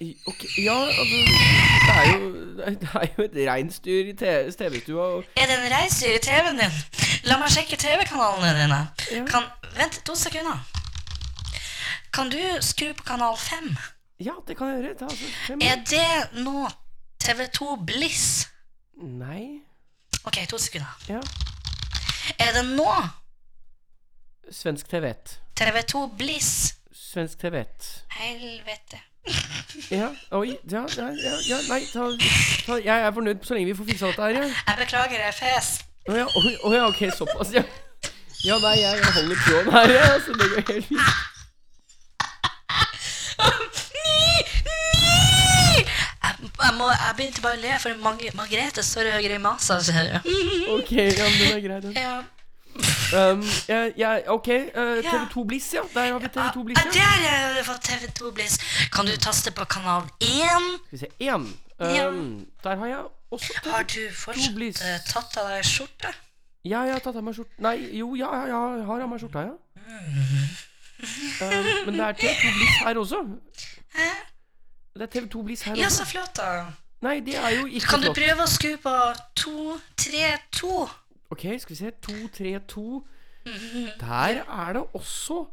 B: I- Ok, ja, altså Det er jo, det er jo et reinsdyr i te- TV-stua, og
E: Er det en reinsdyr i TV-en din? La meg sjekke TV-kanalene dine.
B: Ja.
E: Kan, vent to sekunder. Kan du skru på kanal 5?
B: Ja, det kan jeg gjøre. Ta altså fem
E: Er det nå TV2 Bliss?
B: Nei
E: Ok, to sekunder.
B: Ja.
E: Er det nå
B: Svensk TV1.
E: TV2 Bliss?
B: Svensk TV1.
E: Helvete.
B: Ja, oi. Ja, ja, ja, ja nei, ta, ta Jeg er fornøyd så lenge vi får fiksa dette her, ja.
E: Jeg beklager, jeg fes.
B: Å ja, oi, å ja, ok, såpass, ja. Ja, nei, jeg, jeg holder tråden her, jeg. Altså, det går helt fint.
E: Jeg, jeg, må, jeg begynte bare å le, for Mag Margrethe står og grimaser, ser du.
B: Ok, ja, men den er grei, den.
E: Ja.
B: Um, jeg- jeg- ok, eh,
E: Ja. Ah,
B: TV2 Bliss, ja. Der har vi TV2 Bliss.
E: Ja,
B: Ja.
E: der har du fått TV2 Bliss. Kan du taste på kanal 1?
B: Skal vi se, én.
E: Ja.
B: Um, der har jeg også
E: Har
B: TV2.
E: du fortsatt
B: Bliss.
E: eh, tatt av deg skjorta?
B: Ja, jeg har tatt av meg skjorta Nei, jo, ja, ja, jeg har av meg skjorta, ja. Um, men det er TV2 Bliss her også.
E: Hæ?
B: Det er TV2 Bliss her
E: Ja, så
B: også.
E: flott, da.
B: Nei, det er jo ikke
E: Kan du
B: flott.
E: prøve å skru på 232?
B: Ok, skal vi se. 232. Der er det også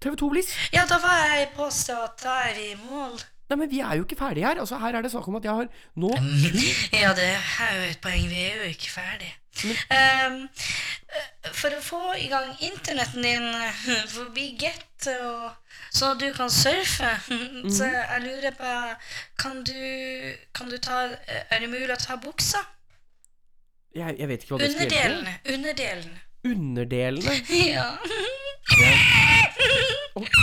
B: TV2 Bliss.
E: Ja, da var jeg påstå at da er vi i mål.
B: Nei, men vi er jo ikke ferdige her. Altså, her er det snakk om at jeg har nå
E: Ja, det er jo et poeng. Vi er jo ikke ferdig. Ehm, eh, for å få i gang internetten din eh, forbi Get, og, sånn at du kan surfe, så jeg lurer på Kan du, kan du ta eh, Er det mulig å ta buksa?
B: Jeg, jeg vet ikke hva det skal hjelpe.
E: Underdelen. Underdelen.
B: Underdelene.
E: Ja.
B: Ok.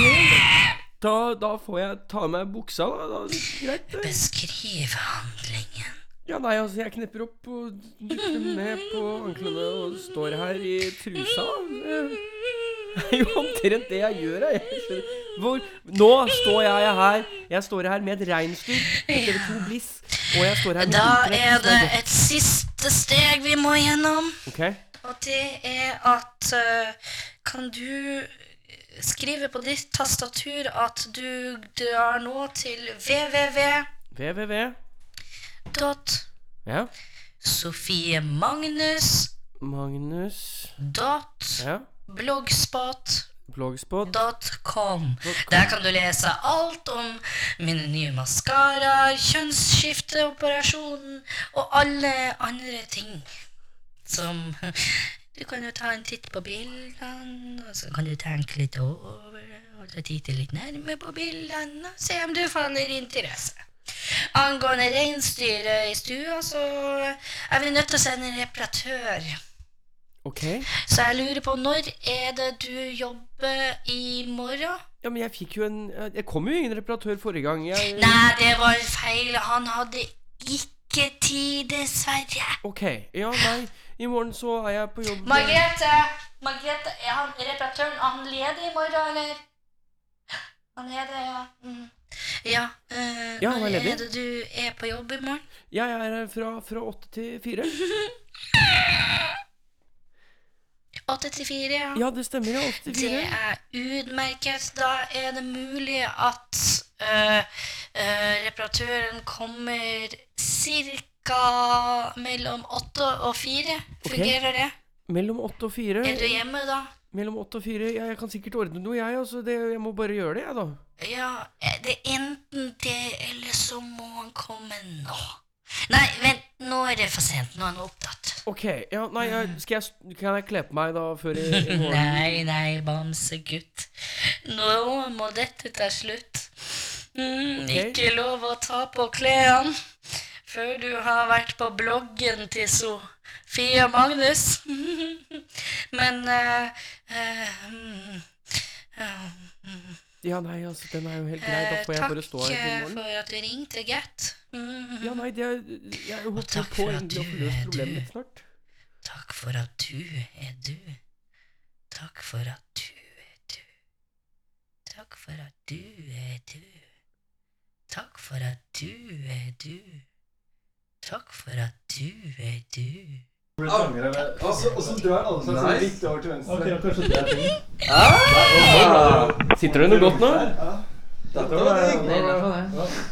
B: Da, da får jeg ta av meg buksa, da. da. Greit. det.
E: Beskriv handlingen.
B: Ja, nei, altså, jeg knepper opp og dytter ned på anklene og står her i trusa. Det er jo omtrent det jeg gjør, jeg. jeg. skjønner. Hvor, nå står jeg her. Jeg står her med et reinsdyr. TV2 Bliss. Og jeg står her med
E: Da er
B: internett.
E: det et siste steg vi må gjennom.
B: Ok.
E: Og det er at eh, Kan du skrive på ditt tastatur at du drar nå til
B: www.
E: www.sofiemagnus.no.
B: Ja. Magnus Ja.
E: Blogspot.com.
B: Blogspot.
E: Der kan du lese alt om mine nye maskaraer, kjønnsskifteoperasjonen og alle andre ting. Som Du kan jo ta en titt på bildene, og så kan du tenke litt over det, og så titte litt nærmere på bildene og se om du faller i interesse. Angående reinsdyret i stua, så er vi nødt til å sende en reparatør.
B: Ok.
E: Så jeg lurer på, når er det du jobber i morgen?
B: Ja, men jeg fikk jo en Jeg kom jo ingen reparatør forrige gang. Jeg,
E: Nei, det var feil. Han hadde ikke tid, dessverre.
B: ok. Ja, nei. I morgen så er jeg på jobb.
E: Margrethe! Margrethe, er han reparatøren er han ledig i morgen, eller? Han er det, ja. Mm. Ja, eh,
B: Ja, han er
E: når
B: ledig.
E: er det du er på jobb i morgen?
B: Jeg er her fra, fra åtte til fire.
E: 8 til 4, ja.
B: Ja, det stemmer. ja, Åtte
E: Det
B: til fire.
E: er utmerket. Da er det mulig at eh, eh, reparatøren kommer cirka mellom åtte og fire.
B: Ok.
E: Fungerer det?
B: Mellom åtte og fire.
E: Er du hjemme da?
B: Mellom åtte og fire. Ja, jeg kan sikkert ordne noe, jeg. Altså, det, jeg må bare gjøre det, jeg, da.
E: Ja, eh, det er enten det, eller så må han komme nå. Nei, vent, nå er det for sent. Nå er han opptatt.
B: Ok. Ja, nei, jeg, skal jeg, s- kan jeg kle på meg da før i, i morgen?
E: Nei, nei, bamsegutt. Nå må dette ta slutt. Mm,
B: Ok.
E: Ikke lov å ta på klærne før du har vært på bloggen til Sofie og Magnus. Men eh, eh, mm, ja,
B: Ja, nei, altså, den er jo helt grei. Da
E: eh,
B: får jeg
E: Takk
B: bare stå her i
E: eh,
B: morgen.
E: for at du ringte, Gert. Mm,
B: Ja, nei, det er, jeg håper
E: takk
B: på
E: for at
B: endelig
E: du
B: å få
E: er
B: løst
E: du.
B: problemet mitt snart.
E: Takk for at du er du. Takk for at du er du. Takk for at du er du. Takk for at du er du. Takk for at du er du.
F: Og så- og så drar alle seg sånn litt over til venstre.
G: Ah!
B: Sitter det noe godt nå?
F: Dette var
H: Det er
F: det.
H: bra for det.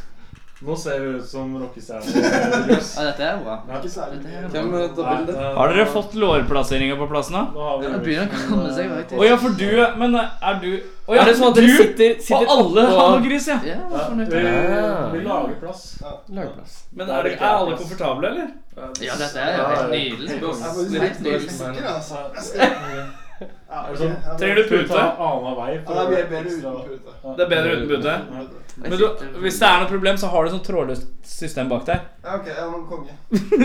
G: Nå ser du ut som rockestjerne.
H: Ja, dette er bra.
F: Ikke særlig mye.
H: Hvem er dette bildet?
D: Har dere fått lårplasseringa på plass nå?
G: Nå har vi
H: Det begynner å komme seg,
D: Å
H: faktisk.
D: ja, for du Men eh, er du Å ja,
B: Er det sånn at dere
D: du
B: sitter, sitter
D: og alle
B: oppå-
D: har noe gris, ja?
H: Ja,
G: Ja,
H: fornøyd.
G: vi,
B: Ja.
G: vi lager plass.
B: Lagplass.
D: Men er, det, er alle komfortable, eller?
H: Ja, dette er helt
F: Jeg
H: nydelig.
F: får
H: Det er
F: litt
H: helt nydelig.
F: usikker, altså. Ja, ok.
G: sånn,
F: Ja, det-
D: Trenger du pute?
G: Ta annen vei.
F: Ja, det blir bedre uten pute.
D: Det er bedre uten pute. Men du, hvis det er noe problem, så har du sånn trådløst system bak deg.
F: Ja, ok, ja, men konge.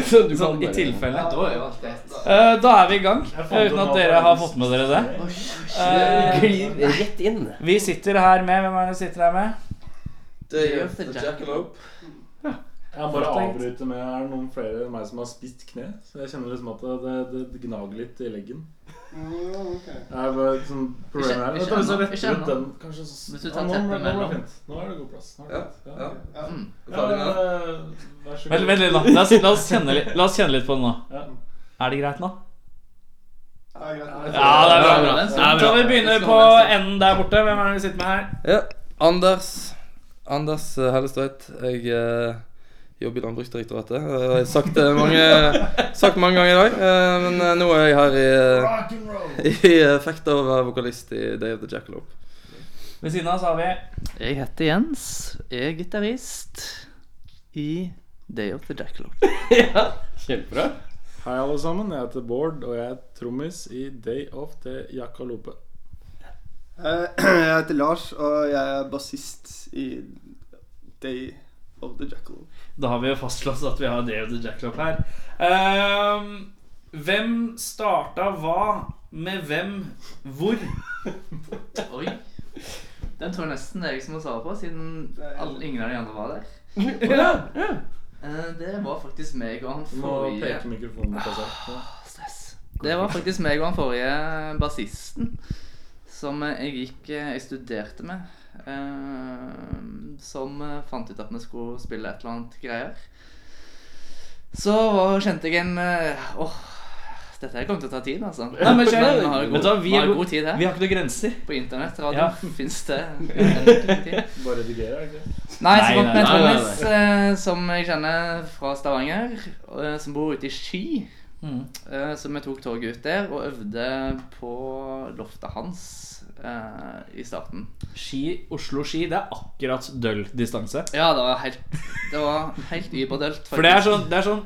D: Så du kan, I tilfelle.
H: Sånn Da er jo alt greit.
D: Eh, da er vi i gang, eh, uten at dere har fått med dere det. Eh,
B: Glir rett inn.
D: vi sitter her med Hvem er det vi sitter her med?
I: Det er The Jackalope.
G: Jeg bare avbryter med Er det noen flere enn meg som har spist kne? Så jeg kjenner liksom at det, det, det gnager litt i leggen.
F: Mm, ok.
G: Jeg bare, sånn, problemet er
H: Ikke- ikke
G: Vent da, hvis jeg retter
H: ennå, ikke
G: ut
H: ennå.
G: den kanskje så,
H: Hvis du
G: Ja,
H: tar
G: nå- nå-
H: teppet
G: nå er det
H: mellom.
G: fint. Nå er det god plass. Nå er det
I: Ja,
G: godt.
I: ja.
F: Ja.
I: Ferdig med den.
G: Ja, eh, vær så
D: Vent,
G: god.
D: vent litt, da. La oss, la, oss kjenne litt, la oss kjenne litt på det nå.
G: Ja.
D: Er det greit nå?
F: Ja, greit.
D: Ja, det er bra.
H: bra.
D: Så kan vi begynne på enden der borte. Hvem er det vi sitter med her?
I: Ja. Anders Anders eh, Hellestveit. Jeg eh, jobber i Landbruksdirektoratet. eh, og Jeg har sagt det mange, sagt mange ganger i dag, eh, men eh, nå er jeg her i, eh, i eh, effekt av å være vokalist i Day of the Jackalope.
D: Ved siden av så har vi
H: Jeg heter Jens. Jeg er gitarist i Day of the Jackalope.
B: Kjempebra.
G: Hei, alle sammen. Jeg heter Bård, og jeg er trommis i Day of the Jackalope.
F: Eh, Jeg heter Lars, og jeg er bassist i Day of the Jackal.
D: Da har vi jo fastslått at vi har David the Jackalope her. Ehm, hvem starta hva med hvem hvor?
H: Oi. Den tror jeg nesten det er jeg som har svaret på, siden alle, ingen av de andre var der. Eh, Det var faktisk meg og han
G: Du må
H: forrige
G: peke mikrofonen på seg. Ja.
H: Stress. Det var faktisk meg og han forrige bassisten som eh, jeg gikk eh, Jeg studerte med. eh, Som eh, fant ut at vi skulle spille et eller annet greier. Så var, kjente jeg en eh, Åh, dette her kommer til å ta tid, altså.
D: Nei, men skjønner du?
H: vi har
D: Vet
H: god,
D: du hva, vi
H: vi har
D: er
H: god tid her.
D: Vi har ikke noen grenser.
H: På internettradio
D: Ja.
H: fins det uendelig tid.
G: Bare redigere, ikke
H: Nei, så
D: Nei,
H: fant vi
D: nei,
H: en
D: nei, nei,
H: trommis eh, som jeg kjenner fra Stavanger, eh, som bor ute i Ski.
D: Mm.
H: Eh, så vi tok toget ut der og øvde på loftet hans eh, i starten.
D: Ski, Oslo-ski, det er akkurat døll distanse.
H: Ja, det var helt, det var helt überdølt.
D: For det er
H: faktisk.
D: sånn, det er sånn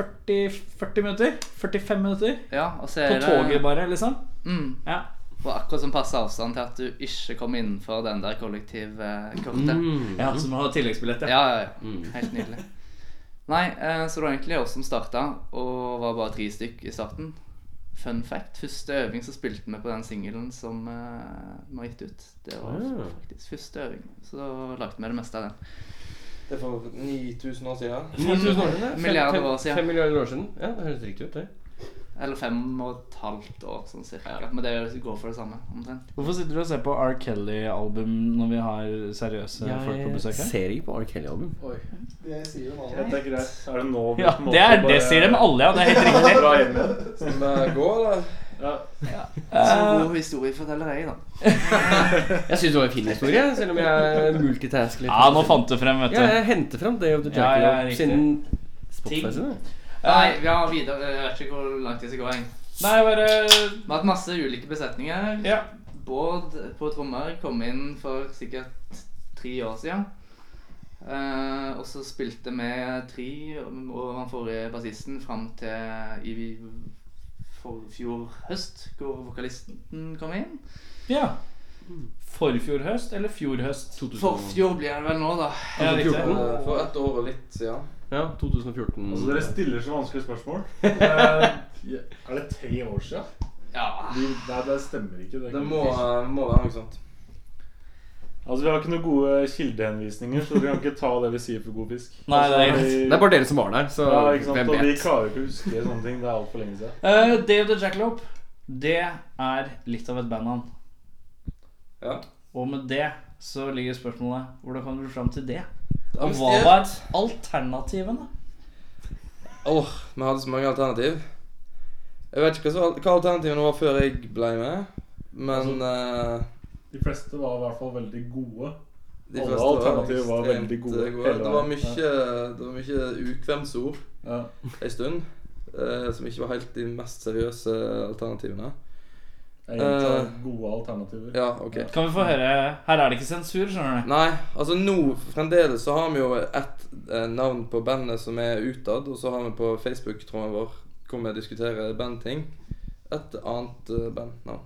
D: 40, 40 minutter? 45 minutter?
H: ja, og så er
D: På toget, bare, liksom?
H: Det, mm,
D: Ja.
H: og akkurat som passe avstand til at du ikke kom innenfor den der kollektivkortet.
D: ja som har tilleggsbillett, ja.
H: Ja, ja, ja.
B: Mm.
H: Helt nydelig. Nei, eh, så det var egentlig oss som starta, og var bare tre stykk i starten. Fun fact. Første øving så spilte vi på den singelen som eh, vi har gitt ut. Det var
B: Ah.
H: faktisk første øving. Så da lagde vi det meste av den.
I: Det er for 9000 år siden.
B: 9000 år siden?
H: Milliarder år siden.
B: 5 milliarder år siden. Ja, det høres riktig ut, det.
H: Eller fem og et halvt år, sånn cirka. Men det går for det samme, omtrent.
D: Hvorfor sitter du og ser på R. Kelly-album når vi har seriøse folk på besøk her?
B: ser ikke på R. Kelly-album.
F: Det sier jo mannen.
G: sant? Det er greit. Er det nå vi
D: Ja,
G: på en måte
D: det, er,
G: bare-
D: det sier de alle, ja. Det er helt riktig.
G: Dra hjem igjen.
I: Skal vi gå, eller?
G: Ja.
H: Så god historieforteller er jeg, da.
B: Jeg syns det var en fin historie, selv om jeg multitasker litt.
D: Ja, nå fant du frem, vet
B: Ja,
D: du.
B: jeg henter fram Day of the
D: Ja, ja,
B: Jackal
D: riktig.
B: siden Spotify sin. det.
H: Nei, vi har videre. Jeg vet ikke hvor langt det skal gå. jeg.
D: Nei, bare
H: Vi har hatt masse ulike besetninger.
D: Ja.
H: Bård på trommer kom inn for sikkert tre år siden. Eh, og så spilte vi tre og han forrige bassisten fram til i for fjor høst, hvor vokalisten kom inn.
D: Ja. Forfjor høst eller fjor høst?
H: Forfjor blir det vel nå, da.
D: Mm. Ja, riktig.
B: 2014.
I: Eh, For ett år og litt siden.
B: Ja, 2014.
G: Altså, dere stiller så vanskelige spørsmål. Eh, Er det tre år siden?
H: Ja.
G: Vi- Nei, det stemmer ikke. Det er
I: Det
G: ikke-
I: må, eh, må være noe sånt.
G: Altså, Vi har ikke noen gode kildehenvisninger, så dere kan ikke ta det vi sier for god fisk.
D: Nei, det er
G: Altså,
D: greit.
G: vi-
B: Det er bare dere som var der, så
G: Ja, ikke sant?
B: hvem
G: Og vi
B: vet?
G: klarer jo ikke å huske sånne ting. Det er altfor lenge siden.
D: Uh, Day of the Jackalope, det er litt av et bandnavn.
I: Ja.
D: Og med det så ligger spørsmålet hvordan kom du fram til det? Og hva
I: Amnesty.
D: var alternativene?
I: Åh, vi hadde så mange alternativ. Jeg vet ikke hva, som- hva alternativene var før jeg ble med, men eh,
G: De fleste var i hvert fall veldig gode.
I: de
G: alle
I: fleste
G: alternativer var
I: ekstremt,
G: veldig gode
I: eh,
G: hele
I: Det
G: veien.
I: var mye, det var mye ukvemsord
G: Ja.
I: en stund, eh, som ikke var helt de mest seriøse alternativene.
G: Jeg gjentar gode alternativer.
I: Ja, ok.
D: Kan vi få høre Her er det ikke sensur, skjønner du.
I: Nei, altså nå fremdeles så har vi jo ett eh, navn på bandet som er utad, og så har vi på Facebook-tråden vår hvor vi diskuterer bandting. et annet eh, bandnavn.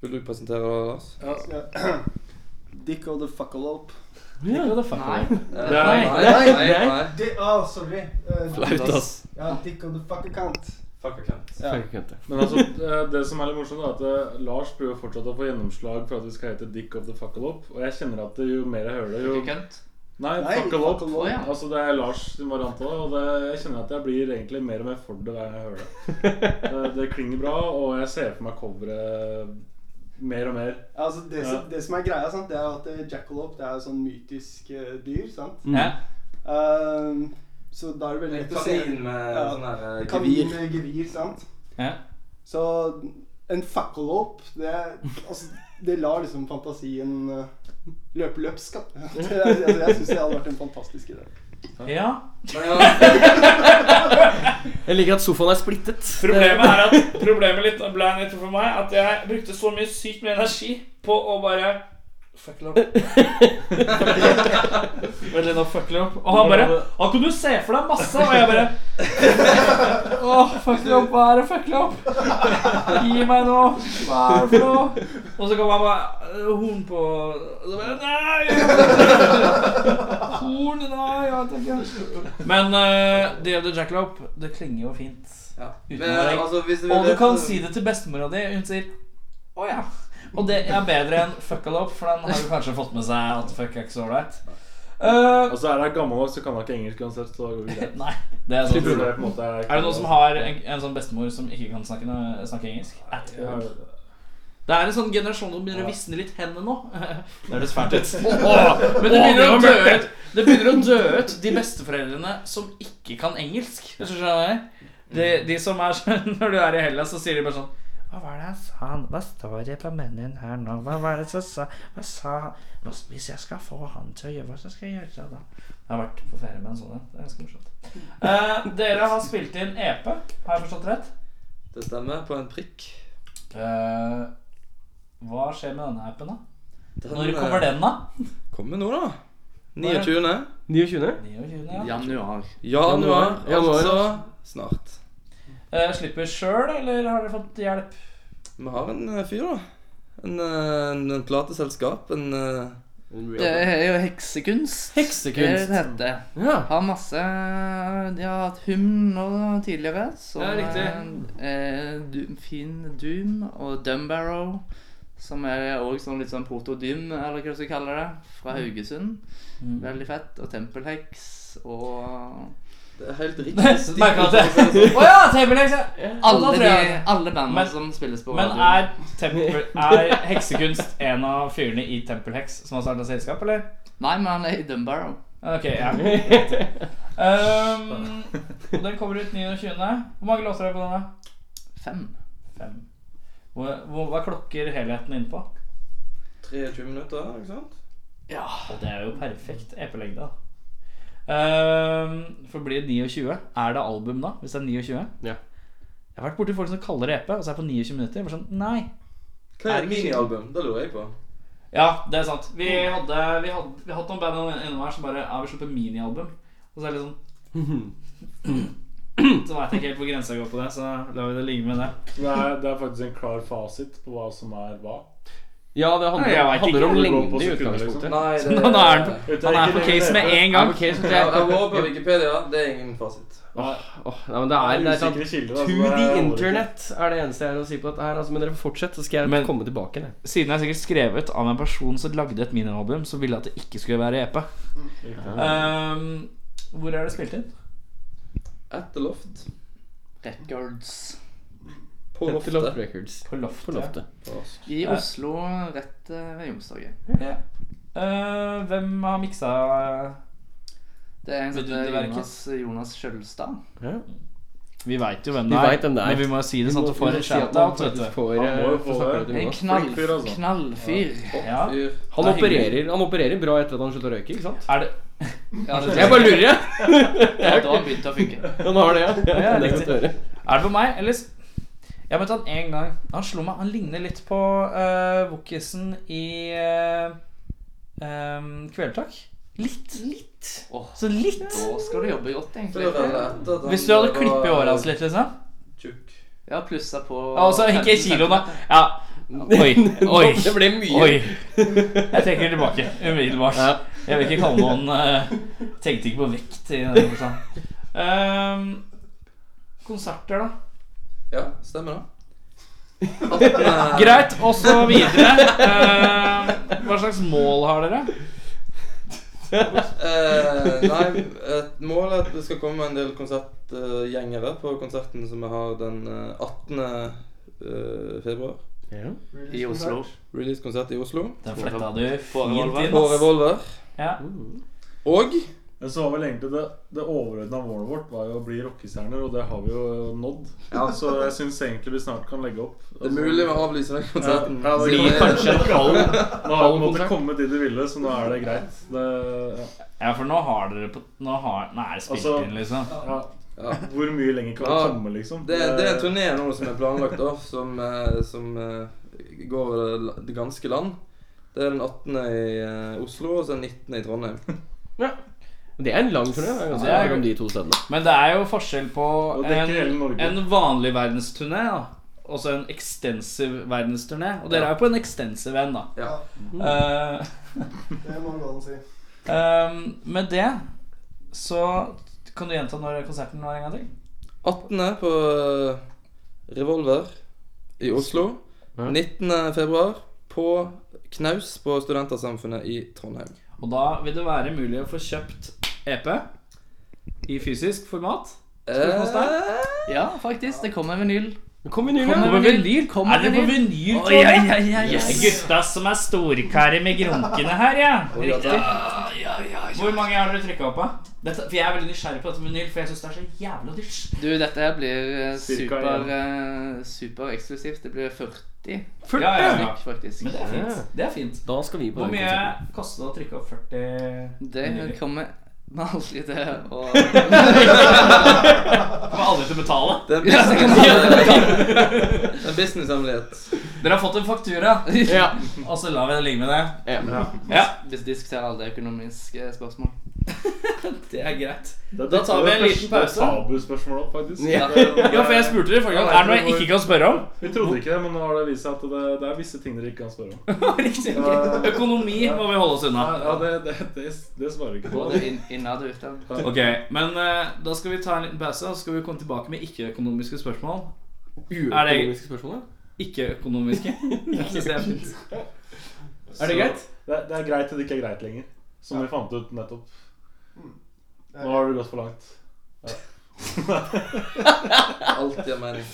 I: Vil du presentere det, Lars?
F: Dick of the fuckalope.
H: Nei.
G: Nei.
I: Eh, nei, nei.
F: Di ah, sorry. Eh,
I: Flaut, ass.
F: ja, dick of the fuckerkant. Ja.
G: Men altså, eh, det som er litt morsomt, er at eh, Lars prøver fortsatt å få gjennomslag for at vi skal hete Dick of the Fuckalope. Og jeg kjenner at jo mer jeg hører det, jo
H: Kønt.
G: Nei,
F: Nei,
G: Fuckalope.
F: fuckalope,
H: ja.
G: Altså, det er Lars sin variant av det, og det, jeg kjenner at jeg blir egentlig mer og mer for det hver gang jeg hører det. det. Eh, Det klinger bra, og jeg ser for meg coveret mer og mer.
F: Ja, Altså, det, som,
G: Ja.
F: det som er greia, sant, det er at eh, jackalope det er jo sånn mytisk eh, dyr. sant?
I: Mm.
D: Ja.
F: Ehm, så da er det veldig lett å se
J: Kanin med
F: Ja.
J: sånn der eh,
F: Kanin
J: gevir.
F: med gevir, sant?
D: Ja.
F: Så en fuckalope, det, altså, det lar liksom fantasien eh, løpe løpsk. da. Det er- Altså, jeg syns det hadde vært en fantastisk idé.
D: ja.
B: Jeg liker at sofaen er splittet.
D: Problemet er at Problemet litt ble litt for meg at jeg brukte så mye sykt mye energi på å bare Fuck it up. Vent litt, nå fuck it up. Og han bare Han kunne jo se for deg masse, og jeg bare Åh, fuck it up. Hva er det fuck it up? Gi meg nå. Hva er det for noe? Og så kom han bare øh, Horn på Og så bare Nei! Horn? Nei, jeg vet ikke. Men uh, The Other Jackalope, det klinger jo fint.
H: Ja.
D: Uten
I: eh,
H: Men,
D: å-
H: altså, hvis du
D: Og
H: vil
D: du
H: vite-
D: kan si det til bestemora di. Hun sier 'Å ja'. Og det er bedre enn 'fuck all up', for den har jo kanskje fått med seg at 'fuck er ikke så ålreit'. Eh,
G: Og så er jeg gammeldags, så kan jeg ikke engelsk uansett, så da går det greit.
D: nei, det er
G: Jeg
D: sånn.
G: tror det er på en måte
D: Er det noen som har en, en sånn bestemor som ikke kan snakke, noe- snakke engelsk? At all. Det er en sånn generasjon som begynner å visne litt hendene nå. Det høres fælt ut. Men det begynner, å dø ut. det begynner å dø ut de besteforeldrene som ikke kan engelsk. Hvis du skjønner De, de som er sånn Når du er i Hellas, så sier de bare sånn Hva var det han sa? han? Hva står det på menyen her nå? Hva var det som sa Hva sa han? Nå- Hvis jeg skal få han til å gjøre hva, så skal jeg gjøre det da. Jeg har vært på ferie med en sånn en. Det er ganske morsomt. Eh, dere har spilt inn EP, har jeg forstått rett?
I: Det stemmer. På en prikk.
D: Eh, hva skjer med denne appen, da?
I: Den,
D: Når kommer den, da?
I: eh, Kommer nå, da. 29.
B: 29.
D: 29, ja.
H: Januar.
I: Januar.
B: Januar, januar.
I: Altså snart.
D: Eh, slipper sjøl, eller har dere fått hjelp?
I: Vi har en eh, fyr, da. En, eh, en, en plateselskap. En eh,
H: Det er jo heksekunst.
B: Heksekunst.
H: Det heter det.
B: Ja.
H: Har masse De har hatt hymn nå tidligere. Så
D: Ja, riktig.
H: eh, eh, Doom, Finn Doom og Dumbarrow, som er òg sånn litt sånn protodym, eller hva du skal kalle det, fra
D: Mm.
H: Haugesund. Veldig fett. Og Tempelheks og
I: Det er helt riktig.
D: Merka at jeg Å ja! Tabelhex, ja! Alle,
H: Alle,
D: tror jeg.
H: de, alle bandene
D: Men-
H: som spilles på
D: Men
H: radioen.
D: er, tempel, er Heksekunst en av fyrene i Tempelheks som har starta selskap, eller?
H: Nei, men han er i Dumbarrow.
D: Ok, ja. Um, og den kommer ut 29. Hvor mange låter er det på den? da?
H: Fem.
D: Fem. Hvor, hvor, hva klokker helheten inn på?
I: 23 minutter, ikke sant?
D: Og det er jo perfekt EP-lengde, da. Ehm, for blir det 29? Er det album da, hvis det er 29?
B: Ja.
D: Jeg har vært borti folk som kaller det EP, og så er det på 29 minutter. Jeg var sånn, nei
I: Hva er et minialbum? Det lurer jeg på.
D: Ja, det er sant. Vi hadde, vi hadde, vi hadde noen band innom her som bare Ja, vi slipper minialbum. Og så er det litt sånn Så veit jeg ikke helt hvor grensa går på det, så lar vi det ligge med det.
G: Det er, det er faktisk en klar fasit på hva som er hva.
B: Ja, det handler,
D: Nei, jeg vet
B: handler om
D: ikke.
G: Det går på
B: lengde i
D: liksom.
G: sekunder,
B: utgangspunktet.
I: Nei,
D: Så nå nå er han på, han er på case med en gang.
I: Jeg jeg var på Wikipedia. Det er ingen fasit.
B: Åh, nei, men det er, det er sånn
G: Usikre kilder.
B: To
G: altså, det er
B: the
G: aldri-
B: internet er det eneste jeg har å si på dette her. Altså, men dere får fortsette, så skal jeg
D: Men-
B: komme tilbake. Jeg.
D: Siden jeg er sikkert skrevet av en person som lagde et minialbum, så ville jeg at det ikke skulle være EP. Ehm, hvor er det spilt inn?
I: Etter loft.
H: Records.
I: På
B: Etter Loft
I: loftet.
B: Records.
D: På loftet.
B: På loftet.
H: I Oslo, rett eh, ved Youngstorget.
D: Ja. Eh, hvem har miksa
H: Det er en som heter
D: Vidunderverket.
H: Jonas, Jonas Skjølstad.
D: Vi veit jo hvem
B: Vi
D: det er,
B: vet hvem det er.
D: men vi må jo si det sånn at du får en shout-out. vet du.
B: får,
G: Han må jo
B: eh, får
G: få
B: snakke
G: det.
B: litt om
H: En
B: Jonas.
H: knall,
G: Flink fyr, altså.
H: knallfyr.
D: Ja.
I: Fyr.
B: Han
D: Det er hyggelig.
B: opererer, han opererer bra etter at han slutta å røyke, ikke sant?
D: Er det
H: Ja, det,
B: Jeg bare lurer, jeg.
H: ja, da har det begynt å funke.
B: Han har det, ja.
D: Ja,
B: det er
D: riktig.
B: godt å høre.
D: Er det på meg, eller s- Jeg møtte han én gang. Han slo meg. Han ligner litt på uh, Wokisen i eh, ehm, Kvelertak. Litt. Litt.
H: Åh.
D: Så litt.
H: Da skal du jobbe godt,
I: Før eller
H: egentlig.
I: etter at han
D: Hvis du hadde
I: var
D: klippet håret hans litt, liksom.
I: Tjukk.
H: Ja, plussa på
D: Ja, Og så ikke
H: 15
D: kiloen, da. Ja. Oi. Oi.
I: Det ble mye.
D: Oi. Jeg trekker tilbake umiddelbart. Jeg vil ikke kalle noen eh, Tenkte ikke på vekt i den forstand. Ehm, konserter, da.
I: Ja, stemmer det. 18, eh,
D: Greit, og så videre. Ehm, hva slags mål har dere?
I: eh, nei, et mål er at det skal komme en del konsertgjengere på konserten som vi har den eh, 18. eh, februar.
H: I Oslo.
I: Release-konsert i Oslo.
D: Den fletta du fint
H: Revolver.
D: inn.
I: På
D: ass.
I: Revolver.
D: Ja.
I: Og
G: Men så var vel egentlig det, det overordna målet vårt var jo å bli rockestjerner, og det har vi jo nådd. Så jeg syns egentlig vi snart kan legge opp.
I: det er mulig vi avlyser den konserten.
G: Ja, ja, det
D: Blir
G: kan-
D: kanskje en halv
G: Nå har du måttet
D: Halvkontrakt.
G: komme dit du ville, så nå er det greit. Det, ja.
D: Ja, for nå har dere på Nå, har, nå er det spilt
G: Altså-
D: inn, liksom.
G: Ja.
I: Ja.
G: Hvor mye lenger kan
I: Ja,
G: det komme, liksom?
I: Det, det er en turné nå som er planlagt, da, som, eh, som eh, går over det la- det ganske land. Det er den 18. i eh, Oslo og så den 19. i Trondheim.
B: Det er en lang turné. Det er ganske
D: Det er-
B: mellom de to stedene.
D: Men det er jo forskjell på
G: Og dekker hele
D: en,
G: Norge.
D: en vanlig verdensturné da. og så en extensive verdensturné. Og dere er jo på en extensive en, da.
I: Ja.
D: Eh,
F: Det må gå an å si.
D: ehm, med det så kan du gjenta når konserten var en gang til?
I: 18. på eh, Revolver i Oslo. 19. februar på Knaus på Studentersamfunnet i Trondheim.
D: Og da vil det være mulig å få kjøpt EP i fysisk format.
I: Eh,
D: Spørsmålstegn?
H: Ja, faktisk. Det kommer vinyl.
B: Kom i ny gang.
H: Kommer vinyl? Kommer
D: Er det på
H: vinyl?
D: vinyl?
H: Oi, ja, ja, ja,
D: Yes.
H: yes.
D: Gutta som er storkarer med grunkene her, ja. Riktig. Hvor mange har dere trykka opp av? Dette, for Jeg er veldig nysgjerrig på dette med vinyl, for jeg syns det er så jævla dyrt.
H: Du, dette her blir eh,
G: Cirka
H: super, eh, super eksklusivt. Det blir 40
D: Ja, ja, ja.
H: stykk, faktisk.
D: Men det er fint. Det er fint.
B: Da skal vi på
D: Hvor
B: den
D: mye
B: konserten.
D: koster det å trykke opp 40
H: Det
D: Nydelig.
H: kommer med aldri til å
D: Kommer alle til å betale.
I: Det er en businesshemmelighet. En businesshemmelighet.
D: Dere har fått en faktura,
B: Ja.
D: og så lar vi det ligge med det.
B: ja.
D: Ja,
H: Vi diskuterer aldri økonomiske eh, spørsmål.
D: det er greit.
G: Det-
D: Da tar vi en
G: det
D: liten
G: første
D: pause.
G: Tabuspørsmål opp, faktisk.
B: Ja.
G: Det-
D: Ja, for jeg spurte dere forrige gang. Er det noe jeg ikke kan spørre om?
G: Vi trodde ikke det, men nå har det vist seg at det, det er visse ting dere ikke kan spørre om.
D: Riktig. ok. Økonomi må vi holde oss unna.
G: Ja, det, det, det, det svarer vi ikke på.
H: Både inn- innad og utad.
D: Ok, men eh, da skal vi ta en liten pause, og så skal vi komme tilbake med ikke-økonomiske spørsmål.
B: Uøkonomiske spørsmål? da?
D: Ikke-økonomiske. Jeg synes det er fint. Er det greit?
G: Det, det er greit til det ikke er greit lenger. Som vi fant ut nettopp. Nå har du gått for langt.
I: Alt gir mening.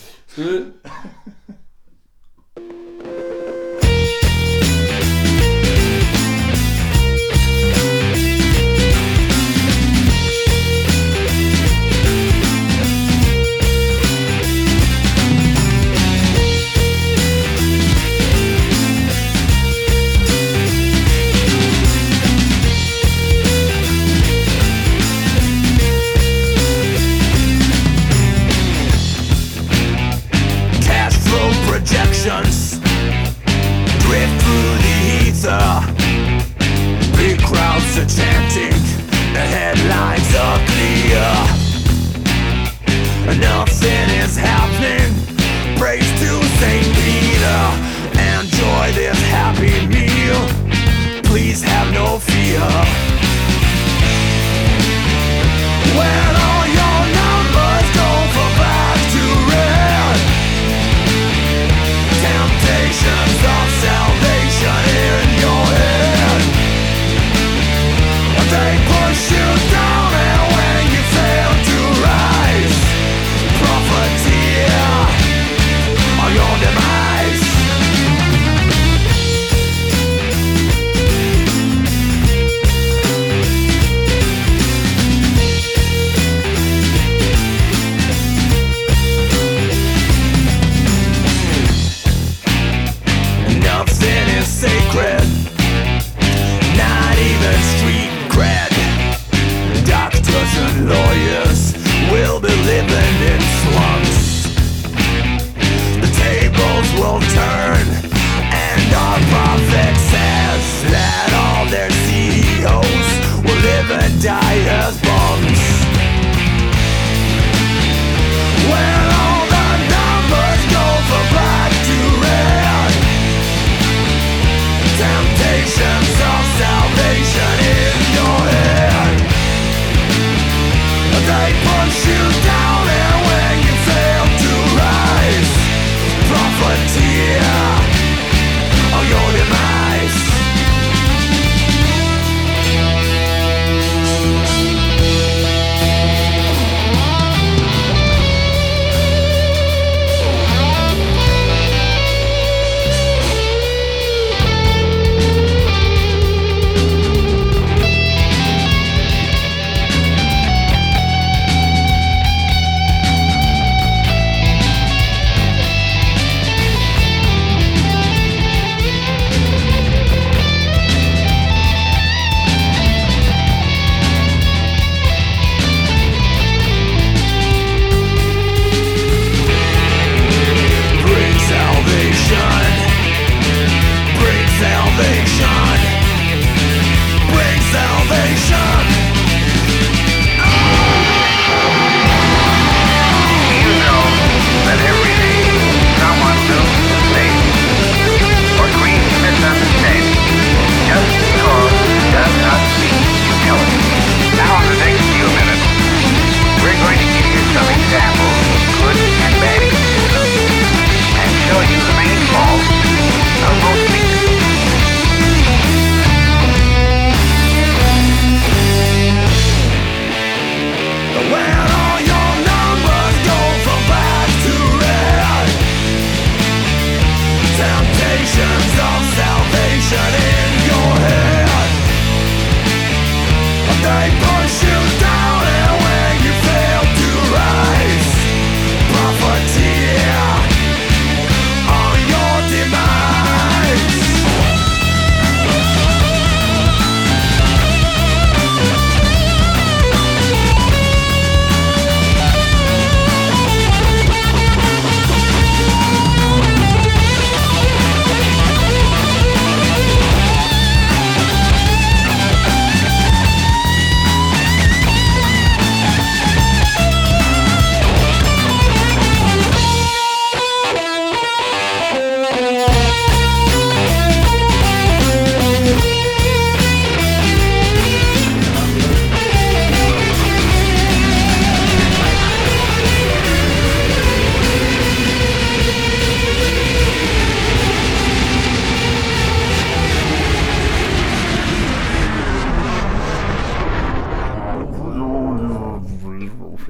J: Test
F: E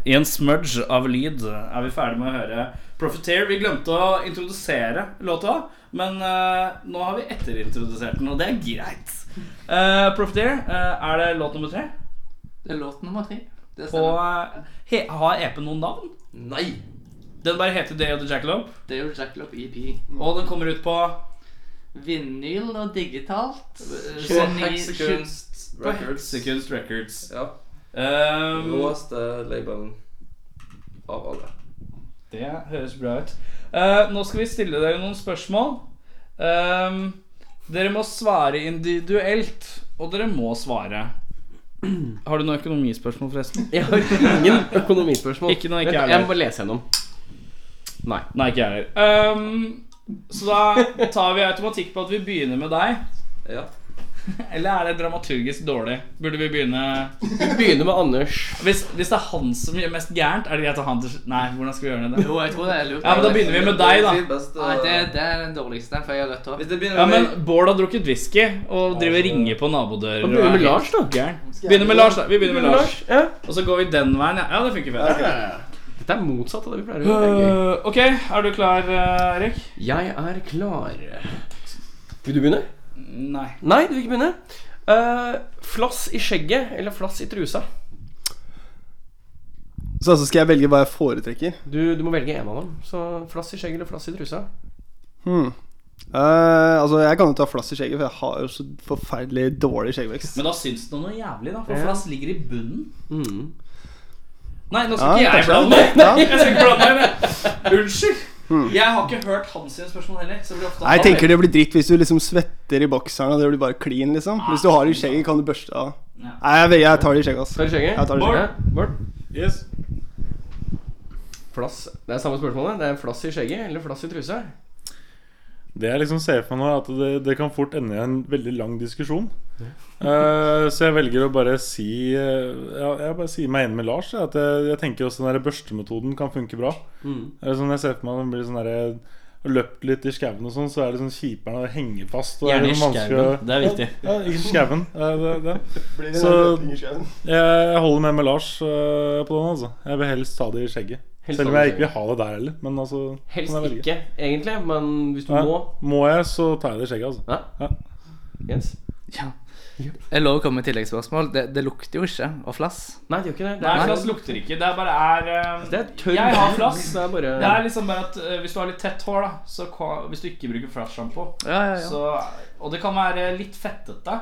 D: I en smudge av lyd er vi ferdig med å høre Profiteer. Vi glemte å introdusere låta, men eh, nå har vi etterintrodusert den, og det er greit. Uh, Profiteer, eh, er det låt nummer tre?
H: Det er sånn låt nummer tre. Det
D: På,
H: stemmer.
D: eh, he, har EP noen navn?
H: Nei!
D: Den bare heter Day of the Jackalope,
H: Det er jo E Jackalope EP.
D: og den kommer ut på
H: Vinyl og digitalt. eh,
I: På
H: siden i-
I: Heksekunst
D: på
I: Records.
D: Heksekunst Records.
I: Ja.
D: Um,
I: Råeste labelen av alle.
D: Det høres bra ut. Eh, nå skal vi stille dere noen spørsmål. Ehm, dere må svare individuelt, og dere må svare. Har du noe økonomispørsmål, forresten?
B: Jeg har ingen økonomispørsmål.
D: Ikke noe, ikke
B: Vent, jeg
D: jeg heller.
B: må lese gjennom. Nei.
D: Nei, ikke jeg heller. Ehm, så da tar vi automatikk på at vi begynner med deg.
I: Ja.
D: Eller er det dramaturgisk dårlig? Burde vi begynne
B: Vi begynner med Anders.
D: Hvis, hvis det er han som gjør mest gærent, er det greit å ha han til sl- Nei, hvordan skal vi gjøre det?
H: Jo, jeg tror det er lurt.
D: Ja, men da begynner vi med deg, da.
I: Beste,
H: Nei, det, det er den dårligste, for jeg har rødt hår.
I: Hvis det begynner
D: Ja,
I: med
D: men Bård har drukket whisky og driver og ringer på nabodører.
B: Da begynner vi
D: og er
B: med Lars, da.
D: helt gæren. Begynner med Lars, da. Vi begynner med Lars.
B: Ja.
D: Og så går vi den veien, ja. Ja, det funker fett.
B: Dette er motsatt av det vi pleier å gjøre. Det er gøy.
D: Øh, ok, er du klar, eh, Erik?
B: Jeg er klar. Vil du begynne?
D: Nei.
B: Nei, du vil ikke begynne. Eh, flass i skjegget eller flass i trusa?
F: Så altså skal jeg velge hva jeg foretrekker?
B: Du, du må velge en av dem. Så flass i skjegget eller flass i trusa?
F: Hmm. Eh, altså Jeg kan jo ta flass i skjegget, for jeg har jo så forferdelig dårlig skjeggvekst.
D: Men da syns du noe jævlig, da. For
B: Ja.
D: flass ligger i bunnen.
B: Mm.
D: Nei, nå
F: Ja,
D: skal ikke jeg
F: kanskje
D: blande meg.
F: Ja.
D: Jeg skal ikke blande meg men- Unnskyld. Jeg har ikke hørt hans sine spørsmål heller. Så det blir ofte
F: Nei, jeg tenker det blir dritt hvis du liksom svetter i bokseren og det blir bare clean, liksom. Hvis du har det i skjegget, kan du børste av.
D: Ja.
F: Nei, jeg, velger- jeg tar det i skjegget, ass.
B: Flass i skjegget?
F: Jeg tar det i skjegget.
B: Bård. Bård.
G: Yes.
B: Flass. Det er samme spørsmålet. Det er flass i skjegget eller flass i trusa?
G: Det jeg liksom ser for meg nå, er at det, det kan fort ende i en veldig lang diskusjon. Eh, så jeg velger å bare si eh, ja, Jeg bare sier meg enig med Lars. jeg, At jeg, jeg tenker også den der børstemetoden kan funke bra.
J: Mm.
G: Eller sånn jeg ser for meg den blir sånn der, jeg har Løpt litt i skauen og sånn, så er det sånn kjipere å henge fast. Og er
D: Gjerne i
G: det sånn vanskelig å-
D: skauen. Det er viktig.
G: Ja, i skauen. Eh, det- det.
F: Blir det
G: Så-
F: en løping i sjøen?
G: Jeg holder med med Lars eh, på den. altså Jeg vil helst ta det i skjegget.
J: Helst
G: Selv om
J: ta det i
G: jeg ikke vil ha det der heller. Men altså
J: Helst
G: kan jeg velge.
J: ikke, egentlig, men hvis du
G: Ja,
J: må
G: må jeg, så tar jeg det i skjegget. altså
J: Ja?
G: Ja.
J: Jens?
H: Ja. Jeg lover å komme med tilleggsspørsmål. Det, det lukter jo ikke av flass.
J: Nei, det gjør ikke det. Det
D: Nei,
J: er,
D: flass lukter ikke. Det er bare er eh,
J: det er tørr
D: Jeg har flass.
J: Det er bare
D: Det er liksom bare at eh, hvis du har litt tett hår, da så ka- Hvis du ikke bruker flash-sjampo,
H: Ja, ja, ja.
D: så Og det kan være litt fettete.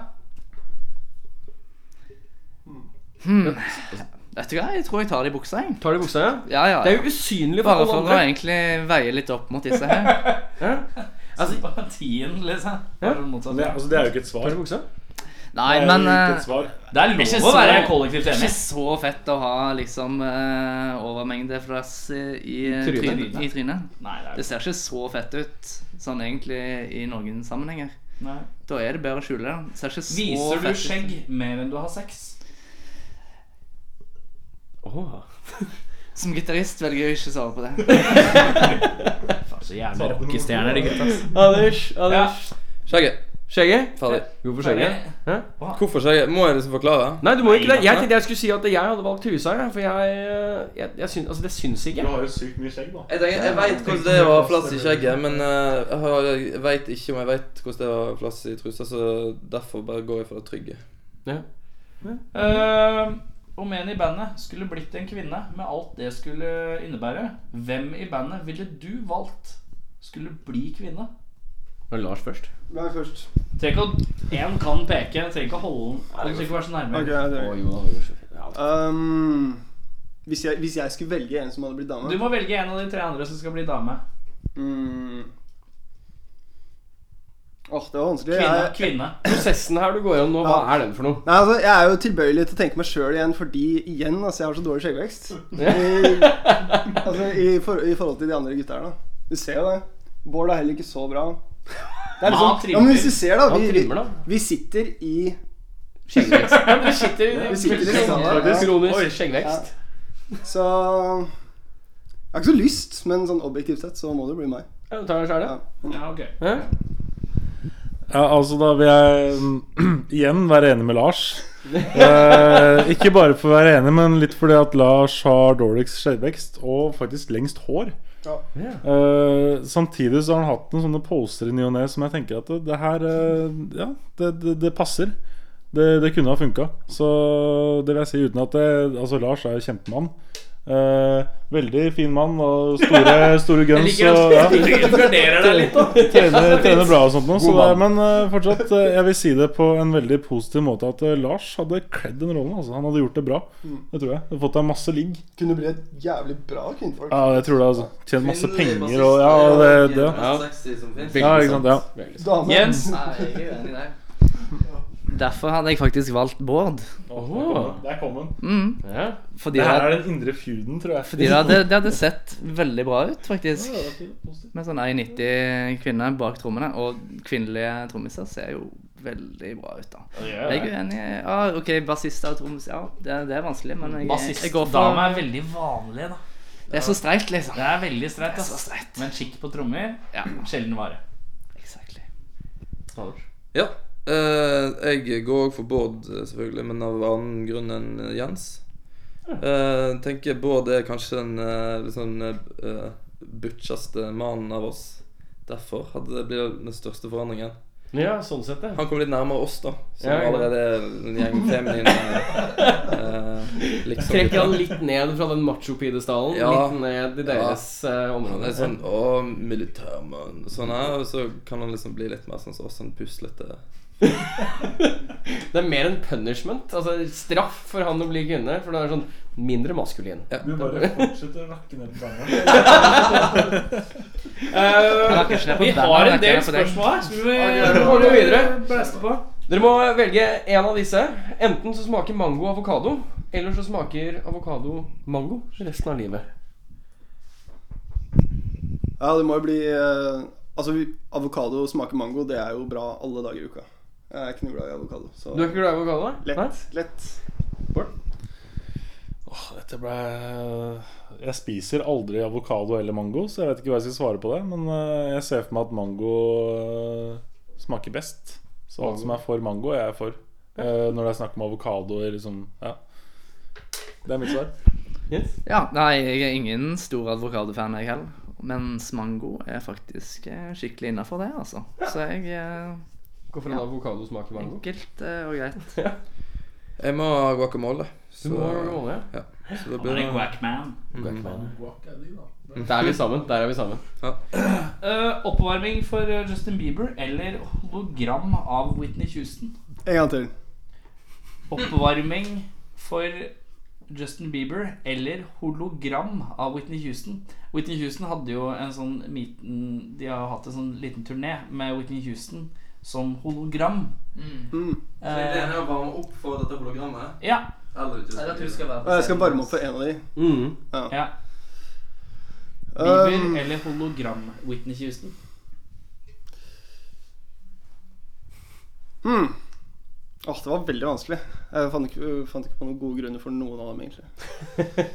H: Vet du hva, jeg tror jeg tar det i buksa, jeg.
J: Tar du buksa, ja?
H: Ja, ja.
J: Det er jo usynlig for
H: Bare
J: alle
H: for å
J: andre.
H: egentlig veie litt opp mot disse her.
D: Altså- Sympatien, liksom. Bare motsatt.
G: Det, altså, det er jo ikke et svar.
J: Tar du buksa?
H: Nei,
G: det er
H: men
G: jo ikke
H: eh,
G: et svar.
D: Det er
H: Ikke
D: lov å
H: så-
D: være kollektivt
H: Det er
D: enig.
H: ikke så fett å ha liksom eh, overmengde flass eh, i eh,
J: Trynet.
H: trynet. I trynet.
D: Nei, det er
H: Det ser ikke så fett ut sånn egentlig i noen sammenhenger.
D: Nei.
H: Da er det bedre å skjule det. Det Ser ikke så
D: Viser du
H: fett ut.
D: skjegg mer enn du har sex?
J: Åh.
H: Som gitarist velger jeg å ikke svare på det.
D: Faen, så jævlig rockestjerner, de gutta. ass.
J: Anders, Anders.
I: Skjegget.
J: Skjegget?
I: Ferdig.
J: Hvorfor skjegget? Hæ?
I: Hvorfor skjegget? Må jeg liksom forklare?
J: Nei, du må ikke det. Jeg tenkte jeg skulle si at jeg hadde valgt trusa, jeg, for jeg, jeg, jeg syns, Altså, det syns
G: Du
J: ikke.
G: har jo sykt mye skjegg, da.
I: Jeg, tenker, jeg veit hvordan det er å ha plass i skjegget, men eh, jeg, har- jeg veit ikke om jeg veit hvordan det er å ha plass i trusa, så derfor bare går jeg for det trygge.
D: Eh, om en i bandet skulle blitt en kvinne, med alt det skulle innebære, hvem i bandet ville du valgt skulle bli kvinne?
J: Var det Lars først?
F: Hvem er først?
D: Trenger ikke å Én kan peke, trenger ikke å holde den. Du trenger ikke å være så nærme.
F: Ok, det er
J: jo, jo, ja.
F: um, hvis, jeg, hvis jeg skulle velge en som hadde blitt dame
D: Du må velge en av de tre andre som skal bli dame.
F: mm. Åh, det var vanskelig.
D: Kvinne.
F: Jeg,
D: kvinne.
J: Prosessen her du går gjennom nå, hva er den for noe?
F: nei, altså, jeg er jo tilbøyelig til å tenke meg sjøl igjen fordi igjen, altså, jeg har så dårlig skjeggvekst. I, altså, i, for, I forhold til de andre gutta her, da. Du ser jo det. Bård er heller ikke så bra. Det er
D: han
F: liksom,
D: trimmer.
F: ja, men hvis du ser, da
J: Han
F: vi,
J: trimmer, da.
F: vi, vi sitter i
J: Skjeggvekst. Ja, det sitter,
F: Vi sitter i salen.
J: det er
F: Ja.
J: Kronisk skjeggvekst.
F: Så Jeg har ikke så lyst, men sånn objektivt sett så må det bli meg.
J: Ja, du tar deg sjæl,
F: Ja.
D: Ja, ok.
J: ja?
G: Ja, altså Da vil jeg mm, igjen være enig med Lars. Eh, ikke bare for å være enig, men litt fordi at Lars har dårligst skjeggvekst og faktisk lengst hår.
F: Ja.
G: Eh, samtidig så har han hatt noen sånne poser i ny og ne som jeg tenker at det, det her eh, Ja, det, det, det passer. Det, det kunne ha funka. Så det vil jeg si uten at det Altså, Lars er jo kjempemann. Eh, veldig fin mann og store, store guns.
D: liker
G: og, ja.
D: Du garderer deg litt, da.
G: Trener, trener bra og sånt nå, så
J: God
G: det,
J: mann.
G: men eh, fortsatt eh, Jeg vil si det på en veldig positiv måte at eh, Lars hadde kledd den rollen. Altså. Han hadde gjort det bra. Det tror jeg. Hadde fått deg masse ligg.
F: Kunne bli et jævlig bra kvinnfolk.
G: Ja, jeg tror det, altså. Tjent masse penger og Ja, det, det.
I: Ja. Sexy som finnes.
G: Ja, ikke sant. Ja.
F: Dame.
D: Jens.
H: Derfor hadde jeg faktisk valgt Bård.
G: Der kom den.
H: Mm.
J: Ja.
H: Fordi
G: Det
H: det,
G: her er den indre feuden, tror jeg.
H: fordi det, hadde, det hadde sett veldig bra ut, faktisk. Med sånn 1,90 kvinne bak trommene. Og kvinnelige trommiser ser jo veldig bra ut, da. Jeg er uenig. Ja, ok, bassist og trommis Ja, det, det er vanskelig, men jeg, jeg går
D: Bassistdame
H: for
D: er veldig vanlig, da.
H: Det er så streit, liksom.
D: Det er veldig streit.
H: Det er så
D: ass.
H: streit.
D: Men skikk på trommer,
H: Ja,
D: sjelden vare.
H: exactly.
I: Ja. eh, jeg går også for Bård, eh, selvfølgelig, men av annen grunn enn eh, Jens. Uh, tenker Bård er kanskje den eh, litt sånn uh, butcheste mannen av oss. Derfor hadde det blitt den største forandringen.
J: ja, sånn sett, ja.
I: Han kom litt nærmere oss, da, som
J: Ja, ja.
I: allerede er en gjeng feminine eh, liksom
J: Trekker han litt ned fra den macho-pidestallen?
I: Ja.
J: Litt ned i deres eh,
I: Han
J: område?
I: er sånn Å, militærmann. Sånn her. Og så kan han liksom bli litt mer sånn som oss, sånn puslete.
J: Det er mer en punishment. Altså straff for han å bli kvinne. For det er sånn mindre maskulin.
G: Du bare fortsetter å rakke ned på beina.
D: vi har en del spørsmål her. Skal vi
J: Nå går vi videre.
D: blæste på?
J: Dere må velge en av disse. Enten så smaker mango avokado, eller så smaker avokado mango resten av livet.
F: Ja, det må jo bli eh, Altså, vi- avokado smaker mango, det er jo bra alle dager i uka. Jeg er ikke noe glad i avokado. Så
J: Du er ikke glad i avokado?
F: lett.
J: Nei?
F: lett.
G: Åh, dette ble Jeg spiser aldri avokado eller mango, så jeg vet ikke hva jeg skal svare på det. Men eh, jeg ser for meg at mango eh, smaker best. Så alt som er for mango, er jeg for. Eh, når det er snakk om avokado eller liksom Ja. Det er mitt svar.
H: Ja, nei, jeg er ingen stor advokadefan, jeg heller. Mens mango er faktisk eh, skikkelig innafor det, altså. Så jeg eh,
J: Hvorfor en avokado smaker mango?
H: Enkelt eh, og greit.
I: Jeg må ha guacamole. Så,
J: Du må ha guacamole, ja.
I: så det blir Mm.
D: Wackman.
J: Der er vi sammen. Der er vi sammen.
D: oppvarming for eh, Justin Bieber eller hologram av Whitney Houston?
F: En gang til.
D: Oppvarming for Justin Bieber eller hologram av Whitney Houston. Whitney Houston hadde jo en sånn liten De har hatt en sånn liten turné med Whitney Houston som hologram. Eh,
I: å varme opp for dette hologrammet?
D: ja,
I: Eller
H: Eller at hun skal være
F: Og jeg skal varme opp for en av de.
J: Mm.
D: ja. Bieber eh.
F: Um,
D: eller hologram Whitney Houston?
F: hmm. Åh, det var veldig vanskelig. Jeg fant ikke, fant ikke på noen gode grunner for noen av dem, egentlig.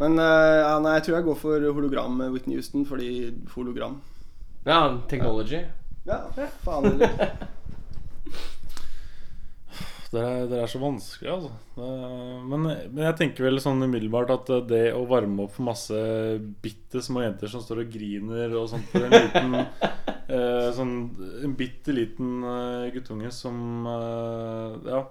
F: Men eh, ja, nei, jeg tror jeg går for hologram med Whitney Houston, fordi hologram
J: Ja, technology.
F: Ja, faen heller.
G: Dere er, dere er så vanskelig, altså. Det- Men, men jeg tenker vel sånn umiddelbart at det å varme opp for masse bitte små jenter som står og griner og sånt for en liten eh, sånn, En bitte liten eh, guttunge som eh, Ja.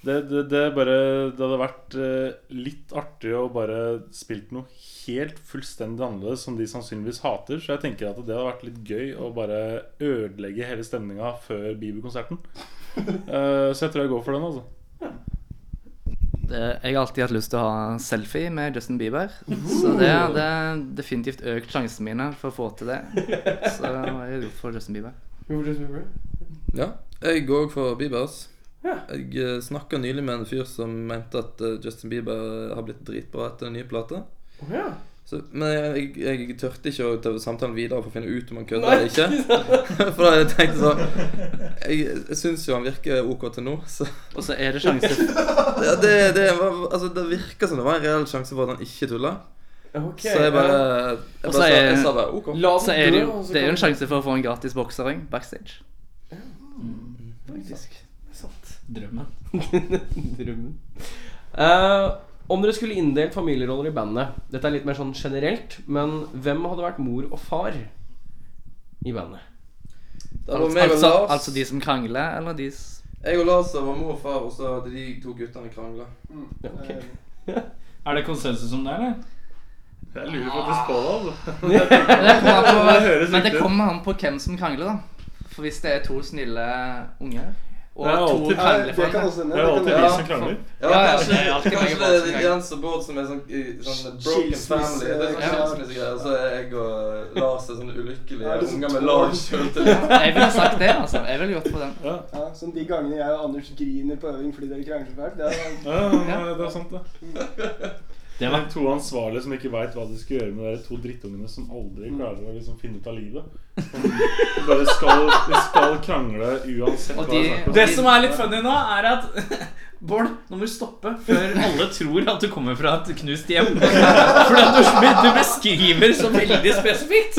G: Det, det, det, er bare, det hadde vært eh, litt artig å bare spilt noe helt fullstendig annerledes som de sannsynligvis hater. Så jeg tenker at det hadde vært litt gøy å bare ødelegge hele stemninga før Bieber-konserten. Eh, så jeg tror jeg går for den, altså.
H: Det- Jeg har alltid hatt lyst til å ha selfie med Justin Bieber. Så det hadde definitivt økt sjansene mine for å få til det. Så jeg går for Justin Bieber.
I: Ja. Jeg går også for Bieber. ass. Jeg snakka nylig med en fyr som mente at eh, Justin Bieber har blitt dritbra etter den nye plata. Så, men jeg, jeg, jeg tørte ikke å ta samtalen videre for å finne ut om han kødder eller ikke. For da jeg tenkte så Jeg, jeg syns jo han virker OK til nå, så
H: Og så er det sjanse
I: ja, det, det, var, altså, det virka som det var en reell sjanse for at han ikke tulla. så jeg bare, jeg
H: Og
I: bare
H: så
I: sa,
H: er-
I: jeg sa bare OK.
J: eh, La
H: Så er det, jo, det er jo en sjanse for å få en gratis boksering backstage.
D: Drømmen.
J: Drømmen. Eh, om dere skulle inndelt familieroller i bandet Dette er litt mer sånn generelt, men hvem hadde vært mor og far i bandet?
I: Det var meg og
H: Altså,
I: Lars.
H: altså de som krangler, eller de s-
I: Jeg og Lars var mor og far, og så hadde de to guttene krangla.
J: Ja, ok.
D: Er det konsensus om det, eller?
G: Jeg lurer faktisk på det, altså. Det høres
H: Men det kommer an på, Men det
G: riktig ut.
H: kommer an på hvem som krangler, da. For hvis det er to snille unger og
G: Det er
H: to
G: alltid-
F: Ja,
H: krangler
F: det kan også hende.
G: Det er
F: det
G: alltid de
F: kan-
I: Ja.
G: som krangler.
I: Ja,
H: Ja, ja,
I: kanskje,
H: det er alltid
I: kanskje
H: mange
I: det
H: bak som
I: er Jens og Bård som er sånn, i, sånn broken
F: Skilsmisse-
I: family. Det er sånn
F: eh, Ja.
I: skilsmissegreier. Og så er jeg og Lars er sånn ulykkelige
F: Ja, det er sånn
I: unger med
F: tårn.
I: lav sjøltillit.
H: Jeg ville sagt det, altså. Jeg ville gått på den.
F: Ja, som de gangene jeg og Anders griner på øving fordi dere krangler så fælt. Det er
G: Ja, ja, det er sant, det. Det er to ansvarlige som ikke veit hva de skal gjøre med de to drittungene som aldri klarer å liksom finne ut av livet. De bare skal, de skal krangle uansett
H: Og
G: hva
H: de-
G: det er snakk om.
D: Det som er litt funny nå, er at Bård, nå må du stoppe før alle tror at du kommer fra et knust hjem. For du, du beskriver så veldig spesifikt.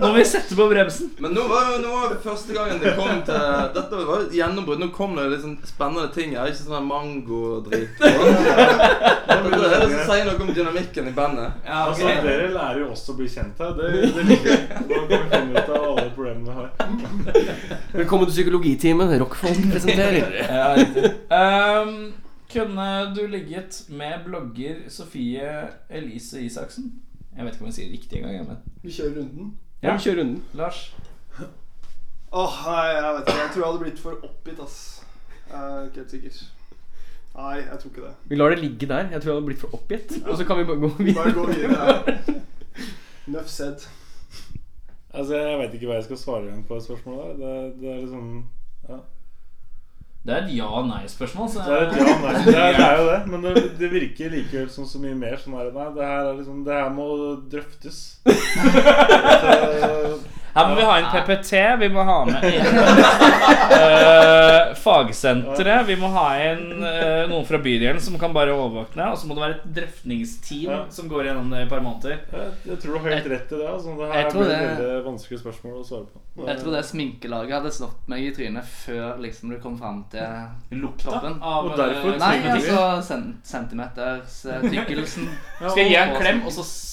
D: Nå må vi sette på bremsen.
I: Men nå var jo nå var det første gangen det kom til Dette var et gjennombrudd. Nå kom det litt sånn spennende ting her. Ikke sånn her mangodrit. Dette er det som sier noe om dynamikken i bandet.
D: Ja,
G: Altså, dere lærer jo også å bli kjent her. Det, det liker jeg. Da kan vi finne ut av alle problemene vi har.
J: Velkommen til psykologitimen. Rockfolk presenterer.
D: Ehm, kunne du ligget med blogger Sofie Elise Isaksen? Jeg vet ikke om jeg sier det riktig engang. jeg, Men.
F: Vi kjører runden.
D: Ja.
J: Kjør runden.
D: Lars?
F: Åh, nei, jeg vet ikke. Jeg tror jeg hadde blitt for oppgitt, ass. Jeg er ikke helt sikker. Nei, jeg tror ikke det.
J: Vi lar det ligge der. Jeg tror jeg hadde blitt for oppgitt. Og så kan vi bare gå
F: Bare gå videre.
J: videre.
F: Nuff said.
G: Altså, Jeg veit ikke hva jeg skal svare igjen på det spørsmålet der. Det, det er liksom ja.
D: Det er et ja-nei-spørsmål. Så
G: Det er, et ja, nei, det, er, det er jo det, men det, det virker likevel som så mye mer sånn her Nei, det her, er liksom, det her må drøftes. At, eh,
D: Her må vi ha inn PPT, vi må ha med inn eh, fagsentre, vi må ha inn eh, noen fra bydelen som kan bare overvåkne, og så må det være et drøftingsteam som går gjennom det i et par måneder.
G: Jeg, jeg tror du har helt rett i det. Altså. Det her
H: Jeg tror
G: blir et
H: det-
G: veldig vanskelig spørsmål å svare på.
H: Jeg tror det sminkelaget hadde slått meg i trynet før liksom du kom fram til toppen.
D: av,
G: Og derfor
D: eh,
H: Nei,
G: trenger vi
H: altså cent centimeterstykkelsen.
D: Skal jeg gi en klem, og så s-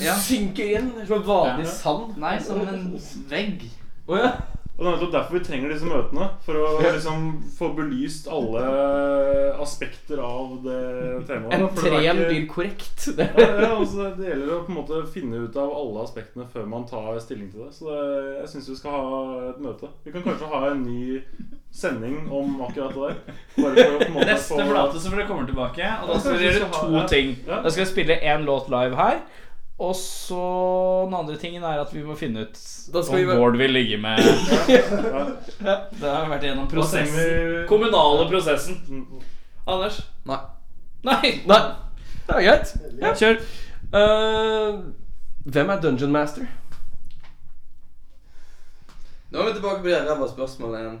H: Ja.
J: Synker inn som vanlig sand.
H: Nei, som en vegg.
J: Å ja.
G: Og det er nettopp derfor vi trenger disse møtene. For å liksom få belyst alle aspekter av det temaet. For det er
J: Entreen
G: ikke-
J: blir korrekt. Det
G: ja, ja, og så Det gjelder å på en måte finne ut av alle aspektene før man tar stilling til det. Så det, jeg syns vi skal ha et møte. Vi kan kanskje ha en ny sending om akkurat det der. Bare for å på en måte
D: Neste flate så får dere komme tilbake, og da skal dere gjøre to ting.
G: Ja.
D: Da skal jeg spille én låt live her. Og så den andre tingen er at vi må finne ut
J: Da skal
D: om
J: vi være-
D: Bård vil ligge med
G: ja.
D: Det har vært gjennom
G: Da trenger
D: prosessen.
G: vi-
D: Kommunale prosessen.
G: Mm.
D: Anders?
I: Nei.
D: Nei.
J: Nei, det er greit.
D: Ja, kjør.
J: Eh, hvem er Dungeon Master?
I: Nå er vi tilbake på det ræva spørsmålet igjen.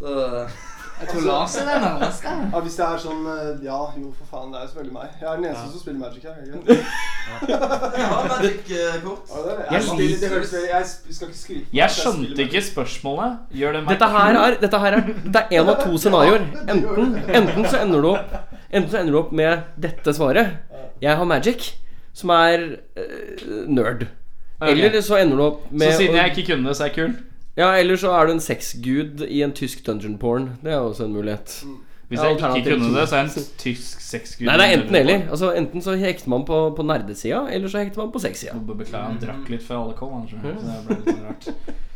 I: Da
H: Jeg tror Lars er den nærmeste.
F: Altså, Ja, hvis det er sånn eh, Ja, jo, for faen, det er jo selvfølgelig meg. Jeg er den eneste som spiller Magic her. er det ikke?
I: Jeg har
F: eh,
I: Magic-kort.
F: Ja, det er det.
D: Jeg
F: Jeg, spiller- det
D: liker-
F: høres veldig- jeg sp- skal ikke skryte. på
D: Jeg
F: at spiller
D: skjønte ikke spørsmålet. Gjør det meg
J: Dette her er, dette her er Det er én av to scenarioer. Enten, enten, så ender du opp, enten så ender du opp med dette svaret. Jeg har magic, som er eh, nerd.
D: Ok.
J: Eller så ender du opp med
D: Så siden jeg ikke kunne det, så er jeg kul?
J: Ja, eller så er du en sexgud i en tysk dungeon porn. Det er også en mulighet.
D: Hvis
J: Ja,
D: jeg ikke
J: alternativ
D: kunne
J: to.
D: det, så er jeg en tysk sexgud.
J: Nei, det er enten eller. Altså Enten så hekter man på, på nerdesida, eller så hekter man på sexsida.
D: Bobbe, Beklager, han drakk litt før alle kom. han
J: Mm.
D: skjønner. Så det ble litt sånn rart.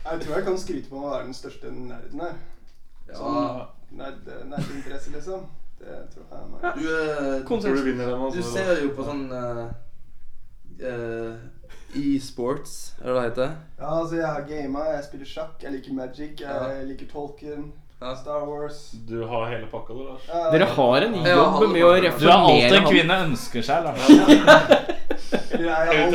F: Jeg tror jeg kan skryte på meg å være den største nerden her. Sånn nerd, nerdinteresse, liksom. Det tror jeg er meg.
I: Du, eh,
G: Tror du vinner den, altså?
I: du ser jo på sånn eh, eh, E-sports, er det det heter?
F: Ja, altså, jeg har gama, jeg spiller sjakk, jeg liker Magic, jeg liker Tolkien,
I: Ja.
F: Star Wars
G: Du har hele pakka, du, Lars.
F: Ja,
J: Dere har en
I: Ja,
J: jobb med å
I: alle-
D: Du er alt
J: reformere
D: en
J: han.
D: kvinne ønsker seg, Lars.
G: mann.
F: jeg er alt. Ja,
I: Ja,
F: er
I: tenk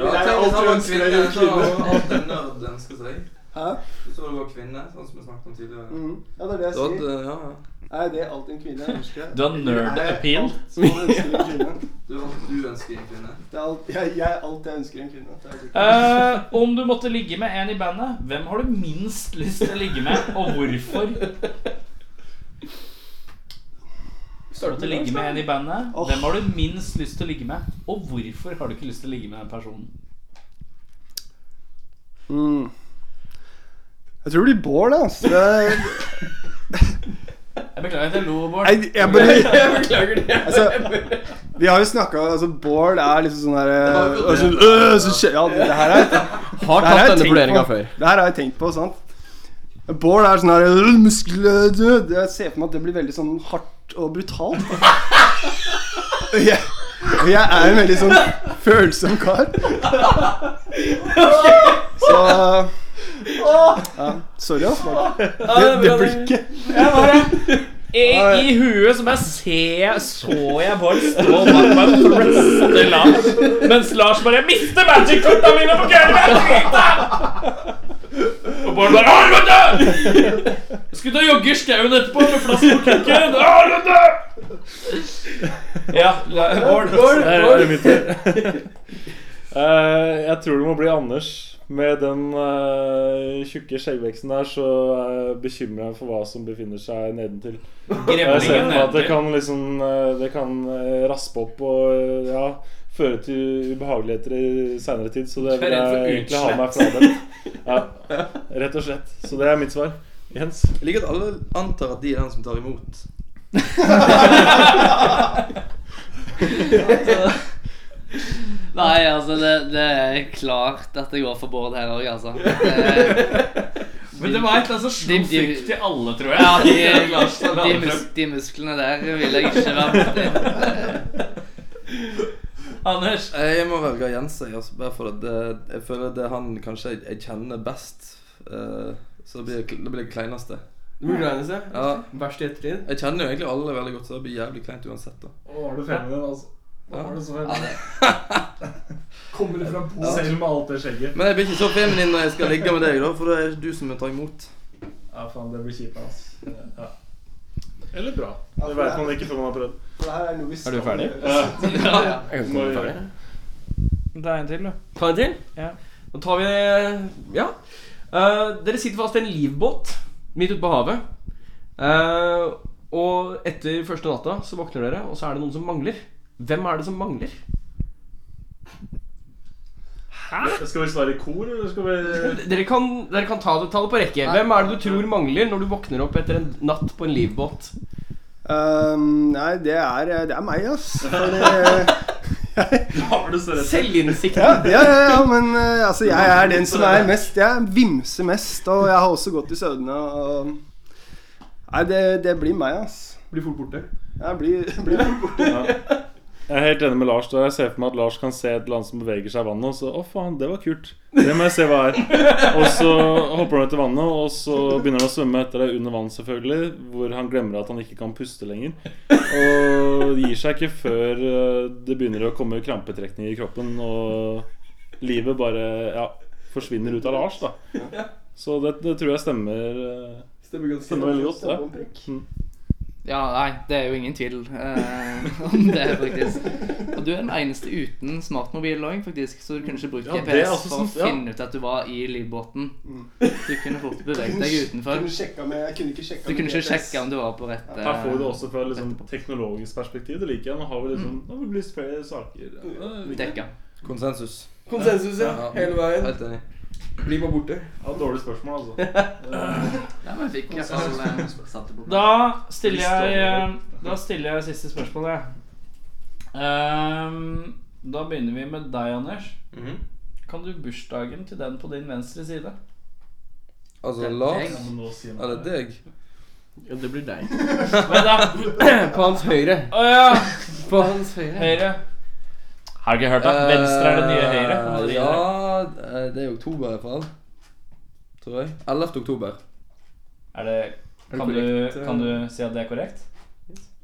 I: hvis han
F: alt
I: var
F: ønsker
I: kvinne,
F: en
I: så
F: kvinne.
I: har han alt en nerd ønsker seg.
F: Hæ?
I: Hvis han var kvinne, sånn som vi snakket om tidligere.
F: Mm. ja, det er det jeg
I: Da,
F: sier.
I: eh, ja, ja.
F: Er det alt en kvinne ønsker?
D: Du har nerd
F: Jeg er
D: appeal.
F: alt som ønsker en kvinne.
I: Du er alt du ønsker i en kvinne.
F: Det er alt, jeg, jeg er alt jeg ønsker en kvinne. Det er det.
D: Eh, om du måtte ligge med en i bandet, hvem har du minst lyst til å ligge med, og hvorfor? Hvis du måtte ligge med en i bandet, hvem har du minst lyst til å ligge med, og hvorfor har du ikke lyst til å ligge med den personen?
F: Mm. Jeg tror det blir Bård, da. Altså. Det er-
D: Jeg beklager at jeg lo, Bård.
F: Nei, jeg bare altså, Vi har jo snakka altså, Bård er liksom sånn her øh, og sånn, øh, så skje- Ja, det her er
J: Har
F: det her
J: tatt
F: jeg
J: denne
F: tenkt
J: vurderinga
F: på.
J: før.
F: Det her har jeg tenkt på, sant. Bård er sånn her øh, muskelød Jeg ser for meg at det blir veldig sånn hardt og brutalt. Og jeg, og jeg er en veldig sånn følsom kar. Så ja, Sorry, ass. Det, det blir ikke
D: I, I huet som jeg ser, så jeg Bård stå bak meg og presse Lars, mens Lars bare 'Jeg mister magic-korta mine på gulvet! jeg driter!» Og Bård bare 'Helvete!' Jeg skulle ta jogge i skauen etterpå med flaske på kukken. Helvete! Ja, la- Bård.
G: Der er det mitt Eh, jeg tror det må bli Anders. Med den eh, tjukke skjeggveksten der, så eh, bekymrer jeg meg for hva som befinner seg nedentil. Jeg ser
D: Grevlingen
G: for meg at det
D: nevner.
G: kan liksom eh, Det kan eh, raspe opp og eh, ja, føre til ubehageligheter i seinere tid. Så det
D: Du er
G: vil
D: redd for
G: jeg egentlig ha meg frabedt. Ja, rett og slett. Så det er mitt svar. Jens.
I: Jeg liker at alle antar at de er den som tar imot.
H: Nei, altså, det, det er klart at det går for Bård her òg, altså. Det,
D: Men det var et eller annet som slo
H: De- de-
D: frykt i alle, tror jeg.
H: ja, de,
D: Lars, det
H: de,
D: andre.
H: mus, de musklene der vil jeg ikke være borti.
D: Anders.
I: Eh, Jeg må velge Jens, jeg, altså, bare for at det, jeg føler det er han kanskje jeg, jeg kjenner best. eh, så det blir det kl- det blir det kleineste.
J: Muligens, ja.
I: Ja,
J: Verst i ettertid.
I: jeg kjenner jo egentlig alle veldig godt, så det blir jævlig kleint uansett. da
G: Nå var du fremmed, altså.
I: Ja.
G: det så
K: Kommer det fra Bo? Selv med alt det skjegget.
I: Men jeg blir ikke så feminin når jeg skal ligge med deg, da, for da er det du som må ta imot.
K: Ja, faen, det blir kjipt, ass. Ja.
G: Eller bra.
F: Ja,
G: Det
F: for
G: vet
F: det-
G: man ikke før man har prøvd.
F: For det her er noe vi
B: Er du ferdig?
K: Ja.
J: Ja.
B: Jeg
G: Må
B: kan komme
G: vi
B: ferdig.
G: gjøre.
D: Det er en til, du.
J: Ta en til?
D: Ja.
J: Da tar vi Ja. Eh, dere sitter fast i en livbåt midt ute på havet. Eh, og etter første natta så våkner dere, og så er det noen som mangler. Hvem er det som mangler?
G: Skal vi svare i kor, eller skal vi
J: Dere kan, dere kan ta det tallet på rekke. Hvem er det du tror mangler når du våkner opp etter en natt på en livbåt?
F: Ehm, nei, det er, det er meg, ass. For det,
G: Har du så rett?
J: Selvinnsikt.
F: ja, ja, ja, ja, men eh, altså, jeg er den som er mest Jeg vimser mest, og jeg har også gått i søvne. Og... Nei, det, det blir meg, ass.
J: Blir fort borte.
F: Jeg blir, blir fort borte.
G: Jeg er helt enig med Lars. da Jeg ser for meg at Lars kan se et eller annet som beveger seg i vannet, og så Å, faen, det var kult. Det må jeg se hva er. Og så hopper han ut i vannet, og så begynner han å svømme etter det under vann, selvfølgelig, hvor han glemmer at han ikke kan puste lenger. Og gir seg ikke før eh, det begynner å komme krampetrekninger i kroppen, og livet bare ja, forsvinner ut av Lars, da. Så det, det tror jeg stemmer. eh, Stemmer veldig godt, det.
H: Ja, nei, det er jo ingen tvil eh, om det, faktisk. Og du er den eneste uten smartmobil òg, faktisk, så du kunne ikke brukt
G: Ja, det er
H: GPS
G: også
H: for å
G: sant, ja.
H: finne ut at du var i livbåten. Du kunne fort beveget deg utenfor.
F: Mm. Kunne sjekka med, jeg kunne ikke sjekka
H: Du kunne
F: med
H: ikke
F: GPS.
H: sjekke om du var på rett
G: Her får vi det
H: eh,
G: også fra liksom, teknologisk perspektiv. Det liker jeg. Nå har vi liksom Nå blir det flere saker. Ja, det er-
H: dekka.
I: Konsensus.
K: Konsensus, ja. Hele veien.
I: Helt enig. Bli bare borte.
G: Ja, dårlig spørsmål, altså.
H: Ja, men jeg fikk i hvert fall eh, satt det bort.
D: Da stiller jeg eh, Da stiller jeg siste spørsmål, jeg. Ehm, da begynner vi med deg, Anders. Kan du bursdagen til den på din venstre side?
I: Altså Lars
G: Men nå sier man
I: Eller deg.
J: Ja, det blir deg.
D: Vent, da.
J: På hans høyre.
D: Å ja!
J: På hans høyre.
D: Høyre. Har du ikke hørt det? Venstre er det nye høyre.
I: Eh, Ja, eh, det er i oktober i hvert fall. Tror jeg. 11. oktober.
D: Er det, kan, du, kan du si at det er korrekt?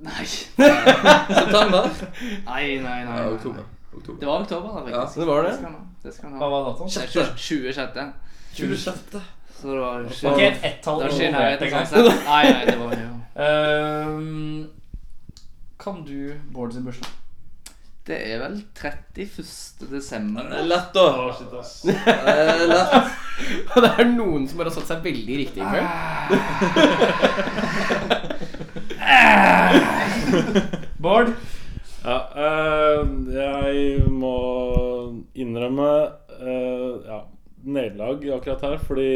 H: Nei.
I: September?
H: Nei, nei, nei.
I: Ja,
H: nei,
I: oktober.
H: nei.
I: oktober.
H: Det var oktober, da,
I: Ja,
H: faktisk.
I: det var
H: Det
I: det.
H: skal han ha. Det skal han
D: Hva
H: ha.
D: var datoen?
H: 26.
I: 26.
H: Så det var jo ikke
D: Ok, ett tall
H: Det var ikke i
D: involvert
H: nærheten,
D: engang.
H: sånn sett. Nei, nei, det var jo
D: Ehm, Kan du Bård sin bursdag?
H: Det er vel 31. desember.
I: Det er lett, da.
G: Å, shit, ass.
I: Det er Eh, lett.
J: Og det er noen som bare har satt seg veldig riktig inn før.
D: Bård?
G: Ja, eh, jeg må innrømme eh, ja, nederlag akkurat her, fordi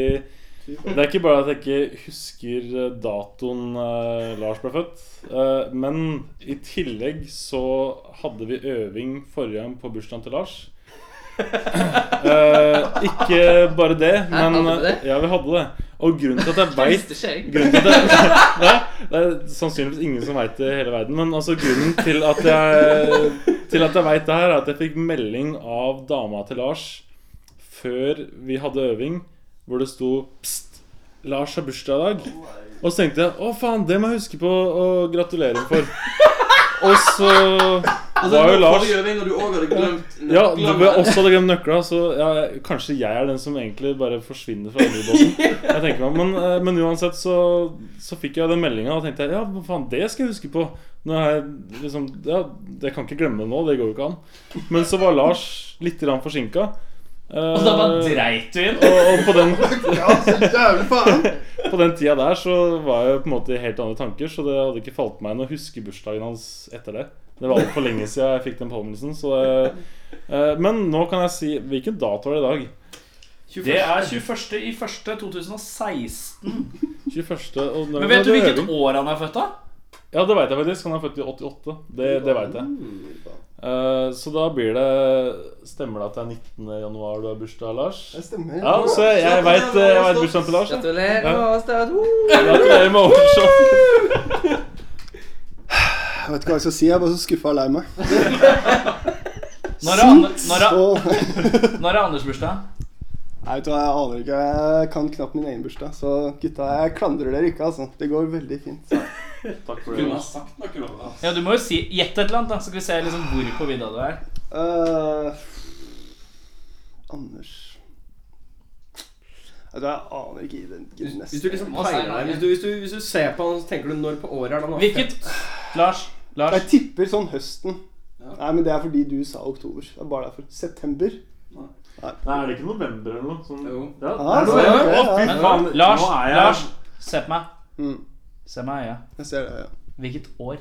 G: det er ikke bare at jeg ikke husker eh, datoen eh, Lars ble født, eh, men i tillegg så hadde vi øving forrige gang på bursdagen til Lars. Eh, ikke bare det, men
H: hadde dere det?
G: Ja, vi hadde det. Og grunnen til at jeg veit
H: Visste ikke jeg.
G: Grunnen til at jeg, nei, det er sannsynligvis ingen som veit det i hele verden, men altså grunnen til at jeg, til at jeg veit det her, er at jeg fikk melding av dama til Lars før vi hadde øving, hvor det sto Pst, Lars har bursdag i dag. Og så tenkte jeg å faen, det må jeg huske på å gratulere ham for. Og så var jo Lars
I: Forrige øving, og du òg hadde glemt
G: ja, du bør også hadde glemt nøkla, så ja, kanskje jeg er den som egentlig bare forsvinner fra livbåten. Jeg tenker meg om, men, eh, men uansett så, så fikk jeg den meldinga og tenkte jeg, ja, men faen, det skal jeg huske på. Nå er jeg liksom, ja, Jeg kan ikke glemme det nå, det går jo ikke an. Men så var Lars litt forsinka.
D: Og da bare dreit du inn?
G: og, og på den
F: Ja, så jævlig faen!
G: på den tida der så var jeg på en måte i helt andre tanker, så det hadde ikke falt meg inn å huske bursdagen hans etter det. Det var altfor lenge siden jeg fikk den påminnelsen. Så det, eh, men nå kan jeg si Hvilken dato er det i dag?
D: Det er 21. i 1. 2016.
G: 21. Og
D: Men vet du hvilket
G: øving?
D: år han er født av?
G: Ja, det veit jeg faktisk. Han er født i 88. Det, det veit jeg. Eh, så da blir det Stemmer det at det er 19. januar du har bursdag, Lars?
F: Det stemmer.
G: Ja, så jeg- jeg veit bursdagen til Lars. jeg.
H: Gratulerer
G: Ja.
H: med oss, det er et
G: Gratulerer med overshot.
F: Jeg vet ikke hva jeg skal si. Jeg er bare så skuffa og lei meg.
D: Når er, Ander- når er,
F: Så-
D: når er Anders bursdag?
F: Nei, vet du hva, jeg aner ikke. Jeg kan knapt min egen bursdag. Så gutta, jeg klandrer dere ikke, altså. Det går veldig fint.
G: Takk for det. Lars.
D: Ja, Du må jo si gjett et eller annet, da, så skal vi se liksom hvor på vidda du er.
F: Øh, Anders Vet du hva, jeg aner ikke identiteten.
K: Hvis du liksom peiler deg hvis du, hvis, du, hvis du ser på han, så tenker du når på året er det han har
D: Hvilket? Lars? Lars?
F: Jeg tipper sånn høsten. Nei, men det er fordi du sa oktober. Det er bare derfor. September.
G: Nei, er det ikke november eller noe? Sånn, jo. Ja,
F: Ah,
G: det
F: så
G: er
F: er det,
G: november. Å, fy
F: ja.
G: faen.
D: Lars,
G: nå er jeg
D: Lars, se på meg.
F: Mm.
D: Se meg i øya.
F: Jeg ser det, ja.
D: Hvilket år?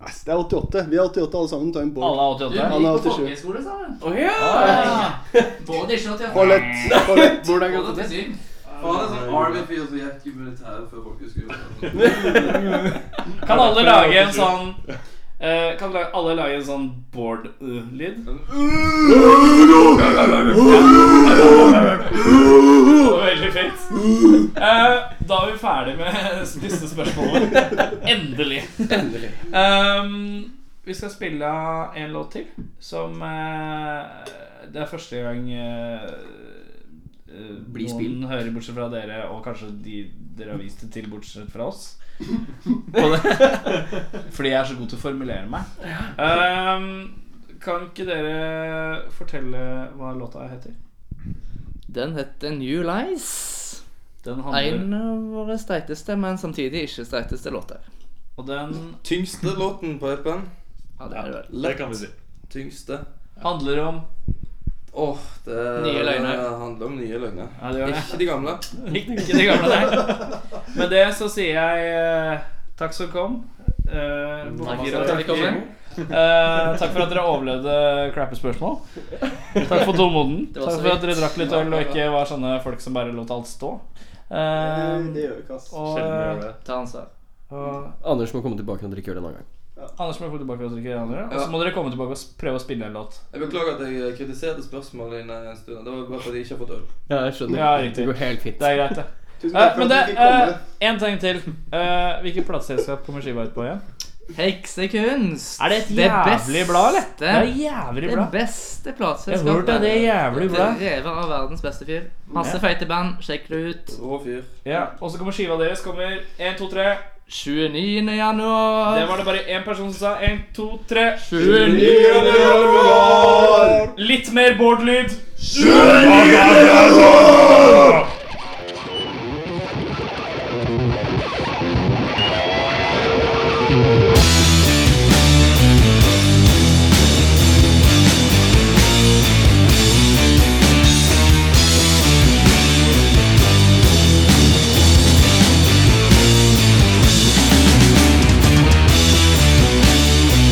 F: Nei, det er 88. Vi er 88 alle sammen. Ta en båt.
D: Alle er 88?
F: Han er
H: på
F: 87.
H: folkehøyskole sammen.
D: Oh, ja.
H: Både ikke at jeg
F: For lett.
D: Eh,
F: For lett.
H: Hvordan går det til?
I: Faen, det er sånn Army-fyr som gikk i militæret før folkehøyskolen.
D: Kan alle lage en sånn eh, Kan la- alle lage en sånn board-lyd? Veldig fint. Eh, da er vi ferdig med disse spørsmålene. Endelig.
I: Endelig.
D: Ehm, vi skal spille av en låt til, som eh, Det er første gang eh, eh,
H: Blir
D: noen
H: spill.
D: hører, bortsett fra dere, og kanskje de dere har vist det til, bortsett fra oss. Fordi jeg er så god til å formulere meg. Ehm, kan ikke dere fortelle hva låta heter?
H: Den heter New Lies.
D: Den
H: En
D: handler,
H: av våre steiteste, men samtidig ikke steiteste låter.
D: og den
I: Tyngste låten på EP-en.
H: Ja, det er det vel.
G: Det kan vi si.
I: Tyngste.
D: handler om
I: Åh, det
H: Nye løgner.
I: det handler om nye løgner.
D: Ja, det gjør det.
I: Ikke de gamle.
D: Ikke det gamle der. Med det så sier jeg eh, takk som kom. Eh,
H: Takk
D: bonakker
H: for
D: og
H: at dere kom.
D: takker. Eh, takk for at dere overlevde crappe spørsmål. Takk for tålmoden.
H: Det var
D: Takk
H: så
D: for
H: vidt.
D: at dere drakk litt øl og ikke var sånne folk som bare lot alt stå. Eh,
F: Det gjør vi ikke, ass.
D: og,
G: Sjelden vi gjør det.
H: Ta ansvar.
D: og
B: Anders må komme tilbake og drikke øl en annen gang.
D: Anders må få tilbake og drikke andre. Og så
I: Ja.
D: må dere komme tilbake og s- prøve å spille en låt.
I: Jeg beklager at jeg kritiserte spørsmålene dine en stund. Det var bare fordi jeg ikke har fått øl.
B: Ja, jeg skjønner.
D: Ja, riktig.
B: Det går helt fint.
D: Det er greit, det.
F: Tusen
D: Eh,
F: takk for
D: men
F: at
D: det,
F: du fikk komme.
D: én ting til. Eh, hvilket plateselskap kommer skiva ut på igjen?
H: Heksekunst.
D: Er det et jævlig blad, eller?
H: beste-
D: Det er jævlig bra.
H: Det beste
D: Jeg
H: plateselskapet.
D: har hørt at det er jævlig bra.
H: Revet av verdens beste fyr. Masse
D: Ja.
H: feite band. Sjekk det ut.
I: Rå fyr.
D: Ja, Og så kommer skiva deres. Kommer 1, 2, 3.
H: 29.
D: Det
H: januar.
D: var det bare én person som sa. 1, 2, 3.
H: 29.
D: Litt mer Bård-lyd. eh,
A: Thank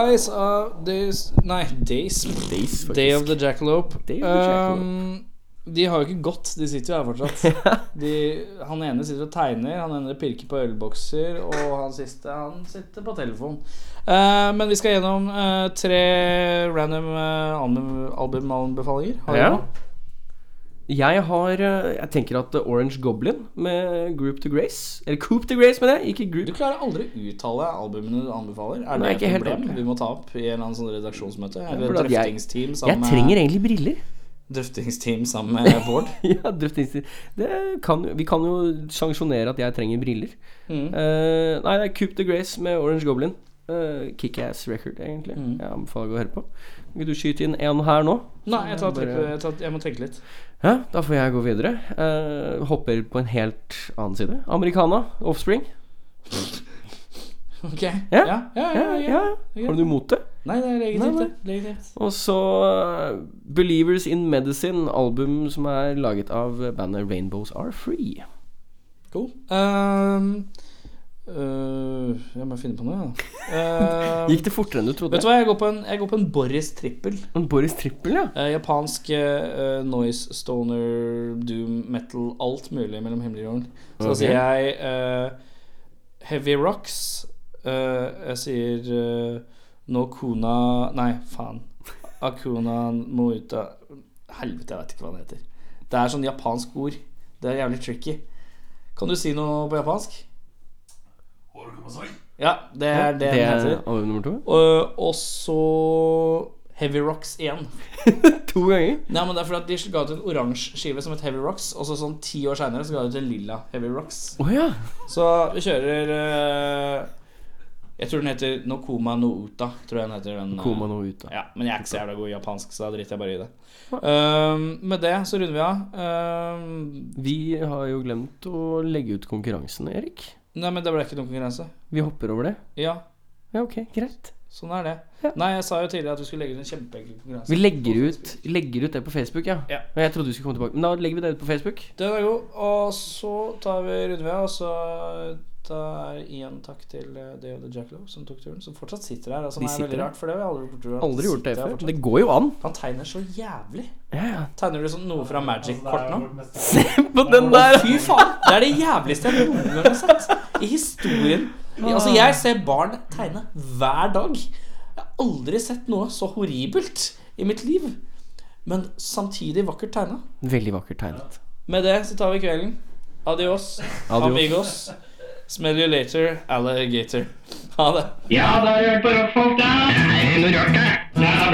D: Days of days, Nei, Days.
L: Days, faktisk.
D: Day of the Jackalope.
L: Day of the Jackalope.
D: Um, de har jo ikke gått, de sitter jo her fortsatt. De, han ene sitter og tegner, han ene pirker på ølbokser, og han siste han sitter på telefon. Eh, men vi skal gjennom eh, tre random eh, album- albumanbefalinger. Har vi
B: Ja.
D: noe?
B: Jeg har eh, Jeg tenker at eh, Orange Goblin med Group to Grace Eller Coop to Grace, mener jeg. Ikke
D: Du
B: Group.
D: klarer aldri å uttale albumene du anbefaler. Er
B: Nei,
D: det
B: ikke
D: et
B: helt
D: problem
B: ordentlig.
D: vi må ta opp i en eller annen sånn redaksjonsmøte? Eller
B: fordi at jeg-
D: drøftingsteam
B: Jeg
D: sammen
B: trenger
D: med,
B: egentlig briller.
D: drøftingsteam sammen med Bård?
B: ja, drøftingstid. Det kan, jo- vi kan jo sanksjonere at jeg trenger briller.
D: Mm.
B: Eh, nei, det er Coop the Grace med Orange Goblin. Eh, Kickass record, egentlig.
D: Mm.
B: Jeg anbefaler å høre på. Vil du skyte inn en her nå?
D: Nei, jeg, tar,
B: Bare-
D: trippet- jeg, tar, jeg må tenke litt.
B: Ja, da får jeg gå videre. Eh, hopper på en helt annen side. Americana, Offspring.
D: Ok. Ja,
B: Ja.
D: ja, ja.
B: Ja, ja. Har du noe imot det?
D: Nei, det er
B: Nei,
D: legitimt,
B: nei.
D: det. Legitimt.
B: Og så eh, Believers in Medicine, album som er laget av bandet Rainbows Are Free.
D: Cool. Ehm, øh, jeg må finne på noe, jeg, da. Ehm,
B: Gikk det fortere enn du trodde?
D: vet du hva, jeg går på en, jeg går på en Boris trippel.
B: En Boris Trippel, ja.
D: Eh, japansk eh, noise, stoner, doom, metal, alt mulig mellom himmel og jorden. Så da
B: Ok.
D: sier jeg eh, Heavy Rocks. eh, jeg sier eh, No Kuna Nei, faen. Akuna Mouta Helvete, jeg vet ikke hva den heter. Det er sånn japansk ord. Det er jævlig tricky. Kan du si noe på japansk? Ja, det er det,
B: Det
D: den
B: er
D: heter.
B: album nummer to.
D: Og- og så Heavy Rocks igjen.
B: To ganger.
D: Nei, men det er fordi at De ga ut en oransje skive som het Heavy Rocks, og så sånn ti år seinere ga de ut en lilla Heavy Rocks.
B: Å ja.
D: Så vi kjører eh, Jeg tror den heter Nokoma no Uta. Tror jeg den heter den eh,
B: Koma nå ut, da.
D: ja, Men jeg er ikke så jævla god i japansk, så da driter jeg bare i det. Ehm, med det så runder vi av. Ehm,
B: Vi har jo glemt å legge ut konkurransen, Erik.
D: nei, men det ble ikke noen konkurranse.
B: Vi hopper over det.
D: Ja,
B: Ja, ok, greit.
D: sånn er det.
B: Ja.
D: Nei, jeg sa jo tidligere at vi skulle legge ut en kjempeenkel konkurranse.
B: Vi legger ut, legger ut det på Facebook, ja.
D: Ja.
B: Jeg trodde vi skulle komme tilbake, men da legger vi det ut på Facebook.
D: Den er god. Og så tar vi runder vi av, og så tar igjen takk til eh, Day of the Jackalow som tok turen. Som fortsatt sitter her. Altså,
B: De
D: det er
B: sitter
D: veldig
B: her.
D: rart, for det har jeg aldri gjort. at
B: Aldri gjort det
D: sitter her
B: før.
D: fortsatt.
B: Det går jo an.
D: Han tegner så jævlig.
B: Ja, ja.
D: Tegner du sånn noe fra Magic-kort nå?
B: På den der!
D: Fy faen! Det er det jævligste jeg noen gang har sett i historien. I- Altså, jeg ser barn tegne hver dag. Jeg har aldri sett noe så horribelt i mitt liv. Men samtidig vakkert tegna.
B: Veldig vakkert tegnet.
D: Med det så tar vi kvelden. Adios,
B: Adios.
D: amigos. Smell you later, alligator. Ha det.
C: Ja, da har du hørt på rockfolk, da. Det er noe rart, det. Det er